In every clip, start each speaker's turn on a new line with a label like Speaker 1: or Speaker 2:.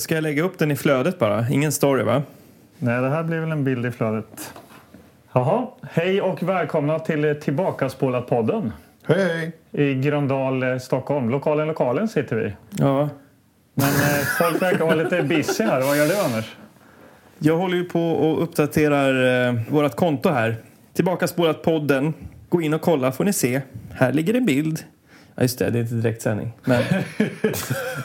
Speaker 1: Ska jag lägga upp den i flödet bara? Ingen story va?
Speaker 2: Nej, det här blir väl en bild i flödet. Jaha, hej och välkomna till eh, Tillbakaspolat-podden
Speaker 3: Hej, hej!
Speaker 2: i Gröndal, eh, Stockholm. Lokalen, lokalen sitter vi.
Speaker 1: Ja.
Speaker 2: Men eh, folk verkar vara lite busy här. Vad gör du, Anders?
Speaker 1: Jag håller ju på och uppdaterar eh, vårt konto här. Tillbaka spolat podden. Gå in och kolla får ni se. Här ligger en bild. Ja just det, det är inte direktsändning. Men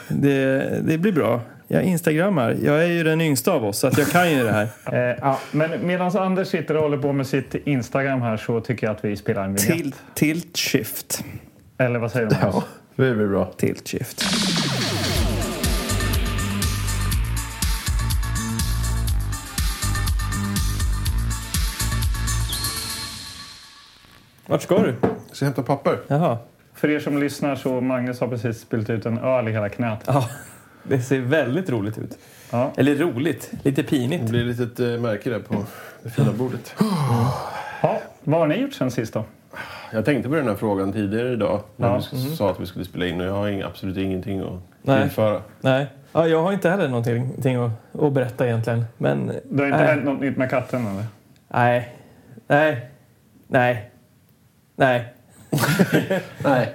Speaker 1: det, det blir bra. Jag instagrammar. Jag är ju den yngsta av oss så att jag kan ju det här.
Speaker 2: Eh, ja, men medan Anders sitter och håller på med sitt Instagram här så tycker jag att vi spelar en vignett.
Speaker 1: Tilt, tilt shift.
Speaker 2: Eller vad säger du? Anders?
Speaker 3: Ja, det blir bra.
Speaker 1: Tilt shift. Vart ska du?
Speaker 3: Ska jag hämta papper?
Speaker 1: Jaha.
Speaker 2: För er som lyssnar så Magnus har precis spilt ut en öl i hela knät.
Speaker 1: Ja, det ser väldigt roligt ut.
Speaker 2: Ja.
Speaker 1: Eller roligt, lite
Speaker 3: Det
Speaker 1: pinigt.
Speaker 3: blir ett litet eh, märke där på det fina bordet.
Speaker 2: Ja, vad har ni gjort sen sist då?
Speaker 3: Jag tänkte på den här frågan tidigare idag när
Speaker 2: Ja.
Speaker 3: vi s- sa att vi skulle spela in och jag har ing- absolut ingenting att
Speaker 1: mhm. Nej.
Speaker 3: tillföra.
Speaker 1: Nej. Ja, jag har inte heller någonting någonting att, att berätta egentligen. Men
Speaker 2: Det har inte
Speaker 1: Nej.
Speaker 2: hänt något nytt med katten eller?
Speaker 1: nej, nej, nej, nej.
Speaker 3: Nej.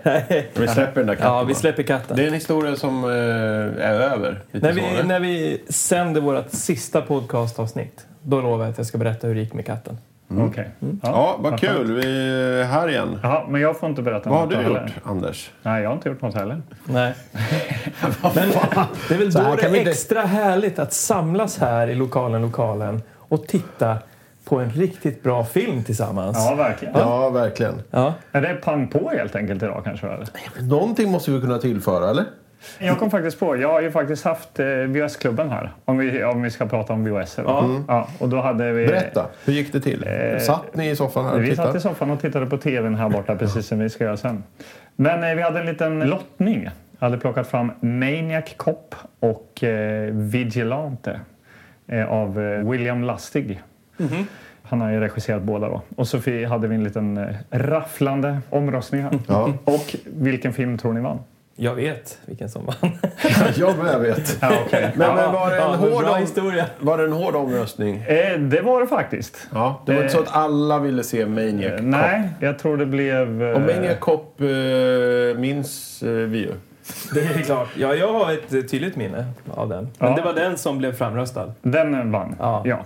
Speaker 3: Vi släpper den där katten
Speaker 1: Ja, vi
Speaker 3: bara.
Speaker 1: släpper katten.
Speaker 3: Det är en historia som eh, är över. Lite
Speaker 1: När
Speaker 3: så,
Speaker 1: vi,
Speaker 3: eller?
Speaker 1: när vi sänder vårt sista podcastavsnitt, då lovar jag att jag ska berätta hur det gick med katten.
Speaker 2: Okej.
Speaker 3: Ja, vad
Speaker 2: skönt.
Speaker 3: kul. Vi är här igen.
Speaker 2: Jaha, men jag får inte berätta
Speaker 3: Vad har
Speaker 2: något
Speaker 3: du
Speaker 2: heller.
Speaker 3: gjort, Anders?
Speaker 2: Nej, jag har inte gjort något heller.
Speaker 1: Nej. Men det är väl
Speaker 4: här
Speaker 1: då det
Speaker 4: kan vi
Speaker 1: är
Speaker 4: inte-
Speaker 1: extra härligt att samlas här i lokalen, lokalen och titta på en riktigt bra film tillsammans.
Speaker 2: Ja, verkligen.
Speaker 3: Ja, verkligen.
Speaker 1: Ja.
Speaker 2: Är det pang på helt enkelt idag kanske? Eller?
Speaker 3: Någonting måste vi kunna tillföra,
Speaker 1: Eh.
Speaker 3: eller?
Speaker 2: Jag kom faktiskt på, jag har ju faktiskt haft eh, VHS-klubben här. Om vi, om vi ska prata om VHS. eller? Ja, och då hade vi...
Speaker 3: Berätta, hur gick det till?
Speaker 1: Eh.
Speaker 3: Satt ni i soffan här och
Speaker 2: Vi satt
Speaker 3: tittade?
Speaker 2: i soffan och tittade på tvn här borta, precis som vi ska göra sen. Men eh, vi hade en liten lottning. Jag hade plockat fram Maniac Cop och eh, Vigilante eh, av eh, William Lustig. Han har ju regisserat båda då. Och så fi- hade vi en liten eh, rafflande omröstning här.
Speaker 3: Ja,
Speaker 2: Och vilken film tror ni vann?
Speaker 1: Jag vet vilken som vann.
Speaker 3: jag med vet.
Speaker 2: Ja, okay.
Speaker 3: Men, men var det en
Speaker 1: Ja, men
Speaker 3: hård
Speaker 1: bra
Speaker 3: om-
Speaker 1: historia.
Speaker 3: Var det en hård omröstning?
Speaker 2: eh, det var det faktiskt. Eh,
Speaker 3: Ja, det var inte så
Speaker 1: Eh.
Speaker 3: att alla ville se Maniac Cop.
Speaker 2: Nej, jag tror det blev... eh,
Speaker 3: Och Maniac Cop eh, minns eh, vi ju.
Speaker 1: Det är klart. Ja, jag har ett eh, tydligt minne av den. Men
Speaker 2: Ja.
Speaker 1: det var den som blev framröstad.
Speaker 2: Den vann.
Speaker 1: Ja.
Speaker 2: Ja.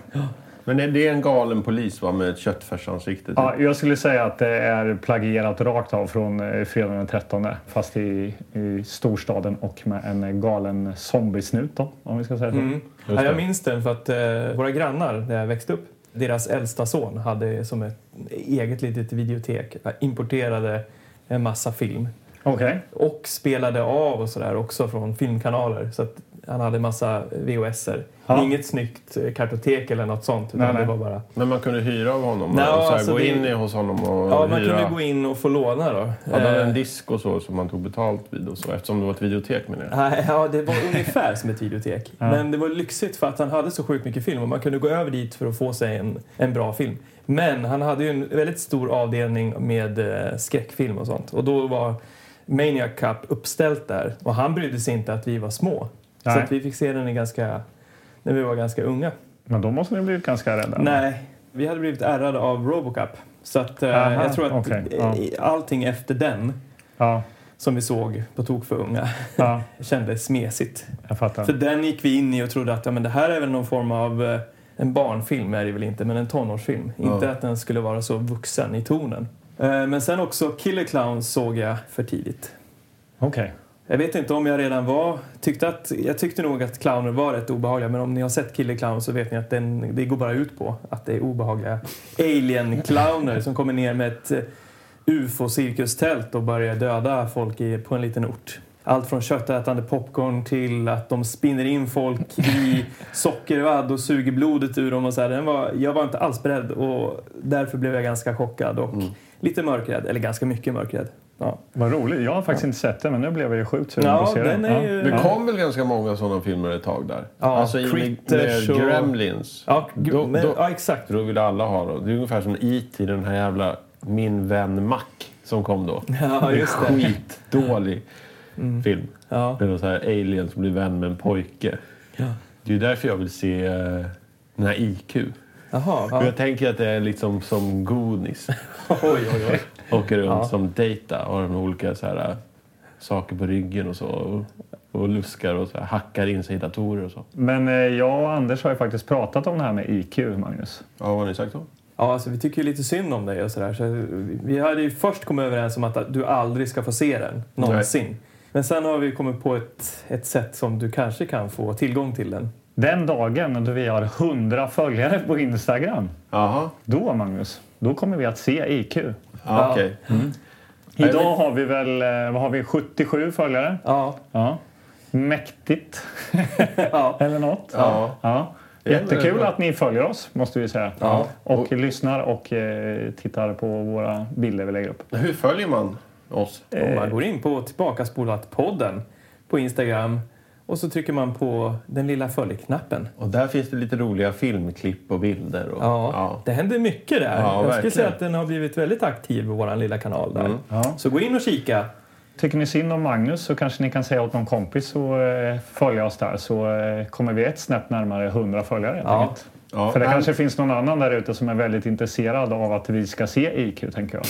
Speaker 3: Men är det en galen polis va, med ett köttfärsansikte? typ?
Speaker 2: Ja, jag skulle säga att det är plagierat rakt av från eh, fredagen den 13. Fast i, i storstaden och med en galen zombiesnut då, om vi ska säga så.
Speaker 1: Mm. Ja, jag minns den för att eh, våra grannar där jag växte upp, deras äldsta son hade som ett eget litet videotek, eh, importerade en massa film
Speaker 2: Okej.
Speaker 1: och spelade av och sådär också från filmkanaler. Så att han hade massa VHSer.
Speaker 2: Ja.
Speaker 1: Inget snyggt eh, kartotek eller något sånt. Utan
Speaker 2: Nej,
Speaker 1: det
Speaker 2: nej.
Speaker 1: var bara...
Speaker 3: Men man kunde hyra av honom?
Speaker 1: Nej,
Speaker 3: och så här,
Speaker 1: alltså
Speaker 3: gå
Speaker 1: det-
Speaker 3: in i hos honom och
Speaker 1: Ja, man
Speaker 3: hyra?
Speaker 1: kunde gå in och få låna då.
Speaker 3: Hade han
Speaker 1: Eh,
Speaker 3: en disk och så som man tog betalt vid och så? Eftersom det var ett videotek menar jag.
Speaker 1: Nej, Ja, det var ungefär som ett videotek. Men det var lyxigt för att han hade så sjukt mycket film och man kunde gå över dit för att få sig en, en bra film. Men han hade ju en väldigt stor avdelning med eh, skräckfilm och sånt. Och då var Maniac Cup uppställt där och han brydde sig inte att vi var små. Så
Speaker 2: Nej.
Speaker 1: att vi fick se den i ganska, när vi var ganska unga.
Speaker 2: Men då måste ni blivit ganska rädda.
Speaker 1: Nej, vi hade blivit ärrade av Robocup. Så att, eh,
Speaker 2: Aha,
Speaker 1: jag tror att
Speaker 2: okej,
Speaker 1: eh,
Speaker 2: ja.
Speaker 1: allting efter den
Speaker 2: Ja,
Speaker 1: som vi såg på Tok för unga
Speaker 2: ja,
Speaker 1: kändes mesigt.
Speaker 2: jag fattar.
Speaker 1: För den gick vi in i och trodde att ja, men det här är väl någon form av eh, en barnfilm är det väl inte, men en tonårsfilm. Inte att den skulle vara så vuxen i tonen. Eh, Men sen också Killer Clowns såg jag för tidigt.
Speaker 2: Okej.
Speaker 1: Jag vet inte om jag redan var... Tyckte att, jag tyckte nog att clowner var rätt obehagliga men om ni har sett Killer Clowns så vet ni att den, det går bara ut på att det är obehagliga alien-clowner som kommer ner med ett eh, ufo-cirkustält och börjar döda folk i, på en liten ort. Allt från köttätande popcorn till att de spinner in folk i sockervadd och suger blodet ur dem. Och så här. Den var, jag var inte alls beredd och därför blev jag ganska chockad och
Speaker 3: Mm.
Speaker 1: lite mörkrädd. Eller ganska mycket mörkrädd. Ja,
Speaker 2: Vad roligt. Jag har faktiskt inte sett det, men nu blev jag ju sjukt sugen på
Speaker 1: ja
Speaker 2: att se
Speaker 1: den är
Speaker 2: Ja.
Speaker 1: ju...
Speaker 3: Det kom väl ganska många sådana filmer ett tag där?
Speaker 1: Ja,
Speaker 3: alltså in i,
Speaker 1: Critters
Speaker 3: med
Speaker 1: och-
Speaker 3: Gremlins.
Speaker 1: Ja, gr-
Speaker 3: Då-
Speaker 1: men,
Speaker 3: då-
Speaker 1: ja exakt.
Speaker 3: Då ville alla ha då. Det är ungefär som IT, den här jävla Min vän Mac som kom då.
Speaker 1: Ja, just det. Mm.
Speaker 3: Skitdålig film.
Speaker 1: Ja.
Speaker 3: Det är någon så här alien som blir vän med en pojke. Det är ju därför jag vill se eh, den här IQ.
Speaker 4: Jaha.
Speaker 3: För Jag tänker att det är liksom som godis.
Speaker 1: Oj, oj, oj.
Speaker 3: Åker runt som data och har de olika så här, eh, saker på ryggen och så. Och, och luskar och så här, hackar in sig i datorer och så.
Speaker 2: Men eh, jag och Anders har ju faktiskt pratat om det här med IQ, Magnus.
Speaker 3: Ja, vad har ni sagt då?
Speaker 1: Ja, alltså, vi tycker ju lite synd om dig och sådär. Så vi hade ju först kommit överens om att du aldrig ska få se den, någonsin. Men sen har vi kommit på ett, ett sätt som du kanske kan få tillgång till den.
Speaker 2: Den dagen då vi har 100 följare på Instagram,
Speaker 3: Jaha,
Speaker 2: då Magnus, då kommer vi att se IQ.
Speaker 3: ja, okej.
Speaker 2: Idag har vi väl eh, vad har vi, 77 följare.
Speaker 1: Ja,
Speaker 2: Ja. Mäktigt,
Speaker 1: ja.
Speaker 2: eller något.
Speaker 3: Ja.
Speaker 2: Ja.
Speaker 3: Det är
Speaker 2: Jättekul
Speaker 3: bra.
Speaker 2: att ni följer oss, måste vi säga.
Speaker 3: Ja.
Speaker 2: Och,
Speaker 3: Och-
Speaker 2: lyssnar och eh, tittar på våra bilder vi lägger upp.
Speaker 3: Hur följer man oss?
Speaker 1: Om man går in på Tillbakaspolat-podden på Instagram och så trycker man på den lilla följknappen.
Speaker 3: Och där finns det lite roliga filmklipp och bilder. Och,
Speaker 1: Ja, det händer mycket där.
Speaker 3: Ja,
Speaker 1: Jag skulle
Speaker 3: verkligen. Mm.
Speaker 1: säga att den har blivit väldigt aktiv, vår lilla kanal där.
Speaker 2: Ja.
Speaker 1: Så gå in och kika.
Speaker 2: Tycker ni synd om Magnus så kanske ni kan säga åt någon kompis att eh, följa oss där så eh, kommer vi ett snäpp närmare 100 följare. helt
Speaker 1: Ja.
Speaker 2: enkelt.
Speaker 3: Ja,
Speaker 2: För det
Speaker 3: men-
Speaker 2: kanske finns någon annan där ute som är väldigt intresserad av att vi ska se IQ, tänker jag.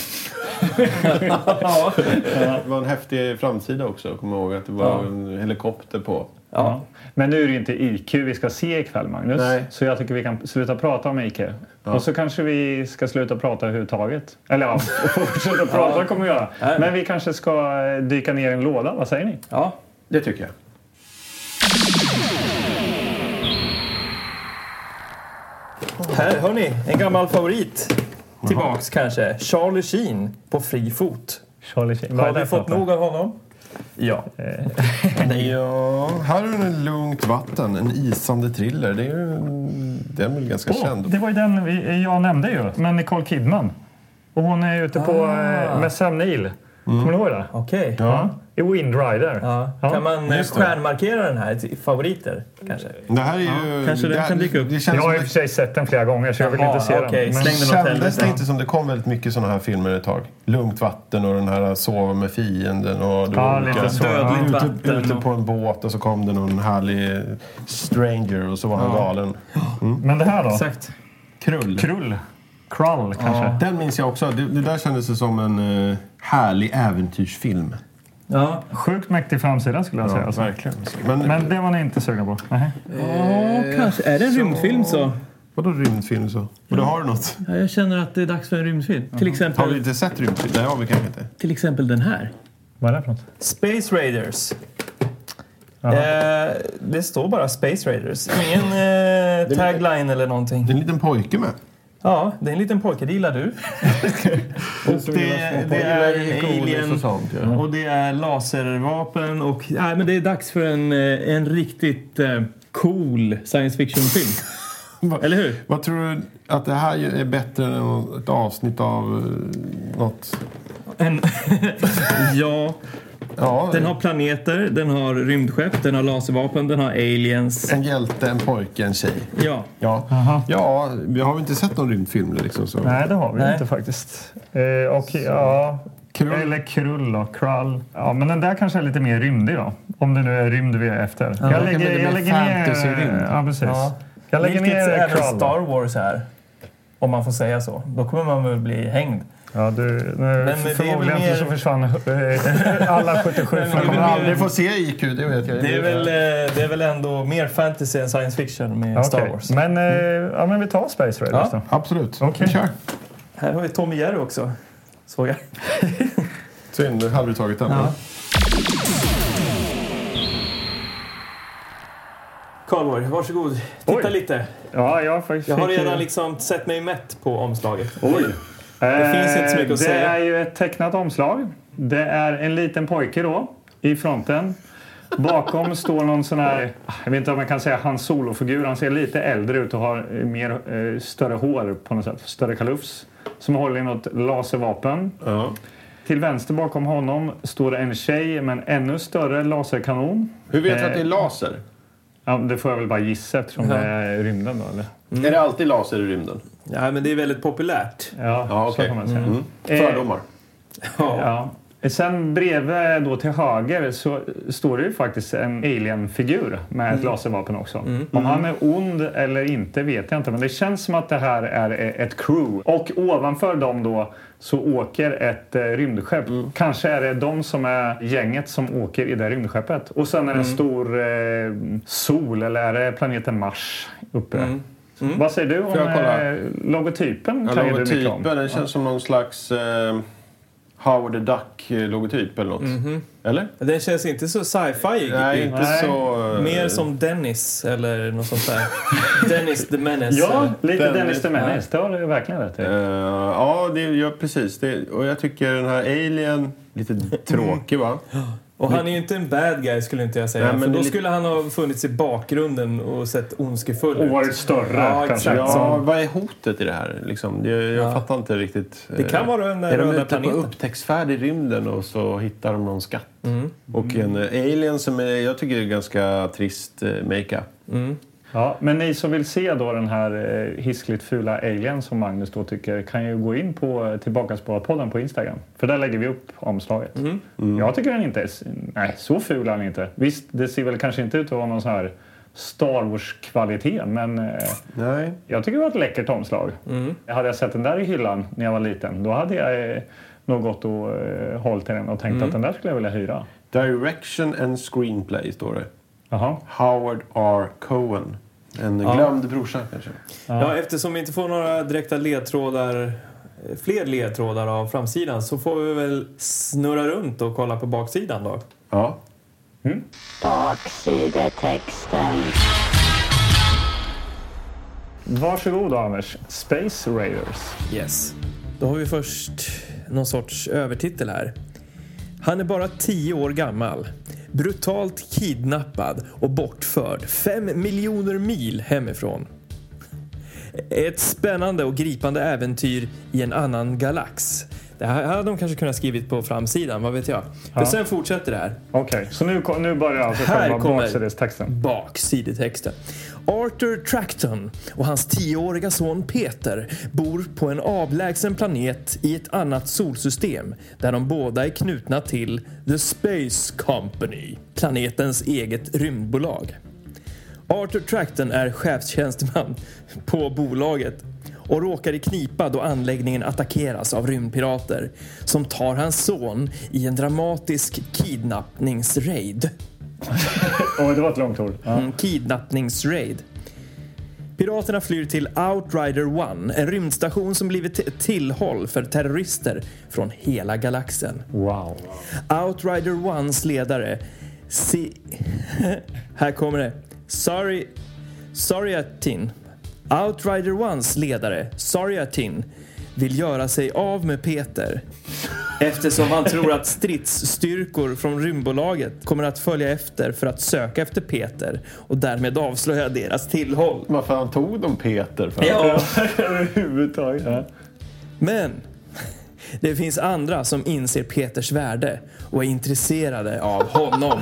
Speaker 1: Ja,
Speaker 3: Det var en häftig framsida också. Kommer ihåg att det var en helikopter på.
Speaker 1: ja.
Speaker 2: Men nu är det ju inte IQ vi ska se ikväll, Magnus.
Speaker 3: Nej.
Speaker 2: Så jag tycker vi kan sluta prata om IQ. Och så kanske vi ska sluta prata överhuvudtaget. Eller ja, fortsätta prata kommer vi göra.
Speaker 1: Nej.
Speaker 2: Men vi kanske ska eh, dyka ner i en låda, vad säger ni?
Speaker 1: ja.
Speaker 3: Det tycker jag.
Speaker 1: Här, hörni, en gammal favorit. Tillbaks kanske. Charlie Sheen på fri fot.
Speaker 2: Charlie Sheen. Vad är
Speaker 1: Har vi
Speaker 2: det för
Speaker 1: fått
Speaker 2: något?
Speaker 1: nog av honom? Ja.
Speaker 5: Ja, här har du en lugnt vatten, en isande thriller. Det är ju, den är väl ganska känd.
Speaker 2: Det var ju den vi, jag nämnde ju, men Nicole Kidman. Och hon är ute på,
Speaker 1: Ah.
Speaker 2: eh, med Sam Neill. Kommer du ihåg det?
Speaker 1: Okej.
Speaker 2: Ja. I Windrider.
Speaker 1: Ja.
Speaker 2: Ja.
Speaker 1: Kan man eh, stjärnmarkera den här till favoriter? Kanske?
Speaker 5: Det här är ju...
Speaker 1: kanske den
Speaker 5: det, här-
Speaker 1: kan dyka upp.
Speaker 5: Det
Speaker 2: Jag
Speaker 5: känns
Speaker 2: har i och
Speaker 5: som
Speaker 2: för sig sett den flera gånger så jag vill
Speaker 1: Jaha,
Speaker 2: inte se
Speaker 1: okej.
Speaker 2: den.
Speaker 1: Släng-
Speaker 2: Men,
Speaker 5: det,
Speaker 1: sig något
Speaker 5: kändes
Speaker 1: helvete.
Speaker 5: det inte som det kom väldigt mycket sådana här filmer ett tag? Lugnt vatten och den här äh, Sova med fienden och... det
Speaker 2: ja,
Speaker 5: var olika-
Speaker 2: lite så.
Speaker 1: Dödligt.
Speaker 2: Ja.
Speaker 5: Ute,
Speaker 1: Vatten
Speaker 5: ute
Speaker 1: och-
Speaker 5: på en båt och så kom det någon härlig stranger och så var han galen.
Speaker 2: Men det här då?
Speaker 1: Exakt.
Speaker 5: Krull.
Speaker 2: Krull? Krull kanske?
Speaker 5: Den minns jag också. Det, det där kändes ju som en eh, härlig äventyrsfilm.
Speaker 1: Ja.
Speaker 2: Sjukt mäktig framsida skulle jag säga. Alltså.
Speaker 5: verkligen. Men,
Speaker 2: Men det var ni inte sugna på? Nej.
Speaker 1: kanske. Är det en rymdfilm Eh, så?
Speaker 5: vadå rymdfilm så? Och då har du något?
Speaker 1: Ja, jag känner att det är dags för en rymdfilm. Till,
Speaker 5: Har vi
Speaker 1: exempel,
Speaker 5: inte sett rymdfilm? Det har vi kanske inte.
Speaker 1: till exempel den här.
Speaker 2: Vad är det för något?
Speaker 1: Space Raiders.
Speaker 2: Jaha.
Speaker 1: Eh, det står bara Space Raiders. Ingen eh, tagline eller någonting.
Speaker 5: Det är en liten pojke med.
Speaker 1: Ja, det är en liten pojke. Det gillar du. och det, det är en alien
Speaker 5: sånt. Ja.
Speaker 1: och det är laservapen och... Nej, men det är dags för en, eh, en riktigt eh, cool science fiction-film. Eller hur?
Speaker 5: Vad tror du att det här ju är bättre än ett avsnitt av eh, något?
Speaker 1: En, ja,
Speaker 5: Ja,
Speaker 1: den har planeter, den har rymdskepp, den har laservapen, den har aliens.
Speaker 5: en hjälte, en pojke, en tjej.
Speaker 1: Ja.
Speaker 5: Ja,
Speaker 2: Aha.
Speaker 5: ja vi har väl inte sett någon rymdfilm nu liksom. Så.
Speaker 2: Nej, det har vi
Speaker 1: Nej.
Speaker 2: inte faktiskt. Eh, och, ja,
Speaker 5: Krull.
Speaker 2: Eller krull då, krull. Ja, men den där kanske är lite mer rymdig då. Om det nu är rymd vi är efter. jag
Speaker 5: kan bli
Speaker 2: lägger,
Speaker 5: mer
Speaker 2: jag lägger ner...
Speaker 5: fantasy-rymd.
Speaker 2: Ja, precis.
Speaker 1: Ja.
Speaker 2: Jag lägger
Speaker 1: Vilket
Speaker 2: ner
Speaker 1: även
Speaker 2: krull.
Speaker 1: Star Wars är. Om man får säga så. Då kommer man väl bli hängd.
Speaker 2: Ja, du, nu,
Speaker 1: väl
Speaker 2: förmodligen
Speaker 1: mer-
Speaker 2: så försvann eh, alla 77
Speaker 1: Men det är
Speaker 5: Jag kommer
Speaker 1: väl
Speaker 2: följare.
Speaker 1: mer-
Speaker 5: aldrig få se IQ, det vet jag.
Speaker 1: Det är väl, eh, det är väl ändå mer fantasy än science fiction med Star
Speaker 2: Okej.
Speaker 1: Wars.
Speaker 2: Men, eh, ja, men vi tar Space Raiders
Speaker 1: Ja.
Speaker 2: då.
Speaker 5: Absolut.
Speaker 2: Okej.
Speaker 5: Kör.
Speaker 1: Här har vi Tommy Jerry också. Såg jag.
Speaker 5: Synd, nu hade du tagit den.
Speaker 1: Ja. Karlborg, varsågod. Titta
Speaker 2: Oj.
Speaker 1: lite.
Speaker 2: Ja, jag, fick,
Speaker 1: Jag har
Speaker 2: fick-
Speaker 1: redan liksom sett mig mätt på omslaget.
Speaker 2: Det
Speaker 1: finns inte så mycket att
Speaker 2: Eh, det
Speaker 1: säga.
Speaker 2: är ju ett tecknat omslag. Det är en liten pojke då, i fronten. Bakom står någon sån här, jag vet inte om jag kan säga hans solofigur. Han ser lite äldre ut och har eh, mer, eh, större hår på något sätt, större kalufs. Som håller i något laservapen.
Speaker 3: Ja.
Speaker 2: Till vänster bakom honom står det en tjej med en ännu större laserkanon.
Speaker 3: Hur vet du att det är
Speaker 2: Eh,
Speaker 3: laser?
Speaker 2: Ja, det får jag väl bara gissa eftersom det är rymden då, eller?
Speaker 3: Är det alltid laser i rymden?
Speaker 1: Ja, Mm. men det är väldigt populärt.
Speaker 2: Ja,
Speaker 3: Ja, okej.
Speaker 1: Eh,
Speaker 2: så kan man säga.
Speaker 3: Fördomar.
Speaker 1: Ja.
Speaker 2: Ja. Sen bredvid då till höger så står det ju faktiskt en alienfigur med
Speaker 5: Mm.
Speaker 2: ett laservapen också. Om han är ond eller inte vet jag inte, men det känns som att det här är e- ett crew. Och ovanför dem då så åker ett eh, rymdskepp.
Speaker 5: Mm.
Speaker 2: Kanske är det de som är gänget som åker i det rymdskeppet. Och sen är det
Speaker 5: Mm.
Speaker 2: en stor eh, sol, eller är det planeten Mars uppe? Vad säger du om
Speaker 5: Mm. jag kolla?
Speaker 2: eh, logotypen?
Speaker 5: Ja,
Speaker 2: kan ju du mycket
Speaker 5: logotypen,
Speaker 2: om.
Speaker 5: den känns som någon slags eh, Howard the Duck-logotyp eller något.
Speaker 1: Mhm.
Speaker 5: Eller?
Speaker 1: Den känns inte så sci-fi.
Speaker 5: Nej, inte
Speaker 2: Nej.
Speaker 5: så... eh,
Speaker 1: Mer som Dennis eller något sånt där. Dennis the Menace.
Speaker 2: Ja, lite
Speaker 5: Dennis-
Speaker 2: Dennis the Menace. Det har du verkligen rätt
Speaker 5: eh,
Speaker 2: i.
Speaker 5: ja, det, ja, precis. Det, och jag tycker den här Alien, lite tråkig va?
Speaker 1: Och han är ju inte en bad guy skulle inte jag säga.
Speaker 5: Nej, men
Speaker 1: för
Speaker 5: det är
Speaker 1: då
Speaker 5: lite-
Speaker 1: skulle han ha funnits i bakgrunden och sett ondskefull
Speaker 2: Och
Speaker 1: ut.
Speaker 2: varit större
Speaker 1: Ja,
Speaker 2: kanske.
Speaker 1: exakt.
Speaker 5: Ja,
Speaker 1: Som-
Speaker 5: vad är hotet i det här? Liksom, det, jag
Speaker 1: Ja.
Speaker 5: fattar inte riktigt. eh,
Speaker 1: Det kan vara den där
Speaker 5: Är de
Speaker 1: röda
Speaker 5: ute på
Speaker 1: planeten.
Speaker 5: upptäcktsfärd i rymden och så hittar de någon skatt?
Speaker 1: Mm.
Speaker 5: Och en eh, alien som är, jag tycker är ganska trist eh, makeup.
Speaker 2: Ja, men ni som vill se då den här eh, hiskligt fula alien som Magnus då tycker kan ju gå in på eh, Tillbakaspårat-podden på Instagram. För där lägger vi upp omslaget. Jag tycker den inte är... s- Nej, så ful är den inte. Visst, det ser väl kanske inte ut att vara någon sån här Star Wars-kvalitet, men eh,
Speaker 5: Nej.
Speaker 2: jag tycker det var ett läckert omslag. Hade jag sett den där i hyllan när jag var liten, då hade jag eh, nog gått och eh, hållit i den och tänkt att den där skulle jag vilja hyra.
Speaker 5: Direction and screenplay står det.
Speaker 2: Jaha.
Speaker 5: Howard R. Cohen. En glömd brorsa kanske.
Speaker 1: Ja, eftersom vi inte får några direkta ledtrådar, eh, fler ledtrådar av framsidan så får vi väl snurra runt och kolla på baksidan då.
Speaker 5: Ja.
Speaker 4: Baksidetexten.
Speaker 2: Varsågod Anders. Space Raiders.
Speaker 1: Yes. Då har vi först någon sorts övertitel här. Han är bara 10 år gammal. Brutalt kidnappad och bortförd 5 miljoner mil hemifrån. Ett spännande och gripande äventyr i en annan galax. Det här hade de kanske kunnat skrivit på framsidan, vad vet jag. Men sen fortsätter det här.
Speaker 2: Okej, så nu, ko- nu börjar alltså
Speaker 1: Här
Speaker 2: själva
Speaker 1: kommer-
Speaker 2: baksidestexten.
Speaker 1: baksidetexten. Arthur Tracton och hans tioåriga son Peter bor på en avlägsen planet i ett annat solsystem där de båda är knutna till The Space Company, planetens eget rymdbolag. Arthur Tracton är chefstjänsteman på bolaget och råkar i knipa då anläggningen attackeras av rymdpirater som tar hans son i en dramatisk kidnappningsraid.
Speaker 2: Oj, det var ett långt ord. Ja.
Speaker 1: En kidnappningsraid. Piraterna flyr till Outrider One, en rymdstation som blivit t- tillhåll för terrorister från hela galaxen.
Speaker 2: Wow.
Speaker 1: Outrider Ones ledare, si... här kommer det. Sorry... Soriatin. Outrider Ones ledare, Soriatin, vill göra sig av med Peter eftersom han tror att stridsstyrkor från rymdbolaget kommer att följa efter för att söka efter Peter och därmed avslöja deras tillhåll.
Speaker 5: Vad fan tog de Peter för?
Speaker 1: Ja.
Speaker 2: Överhuvudtaget. Ja.
Speaker 1: Men det finns andra som inser Peters värde och är intresserade av honom.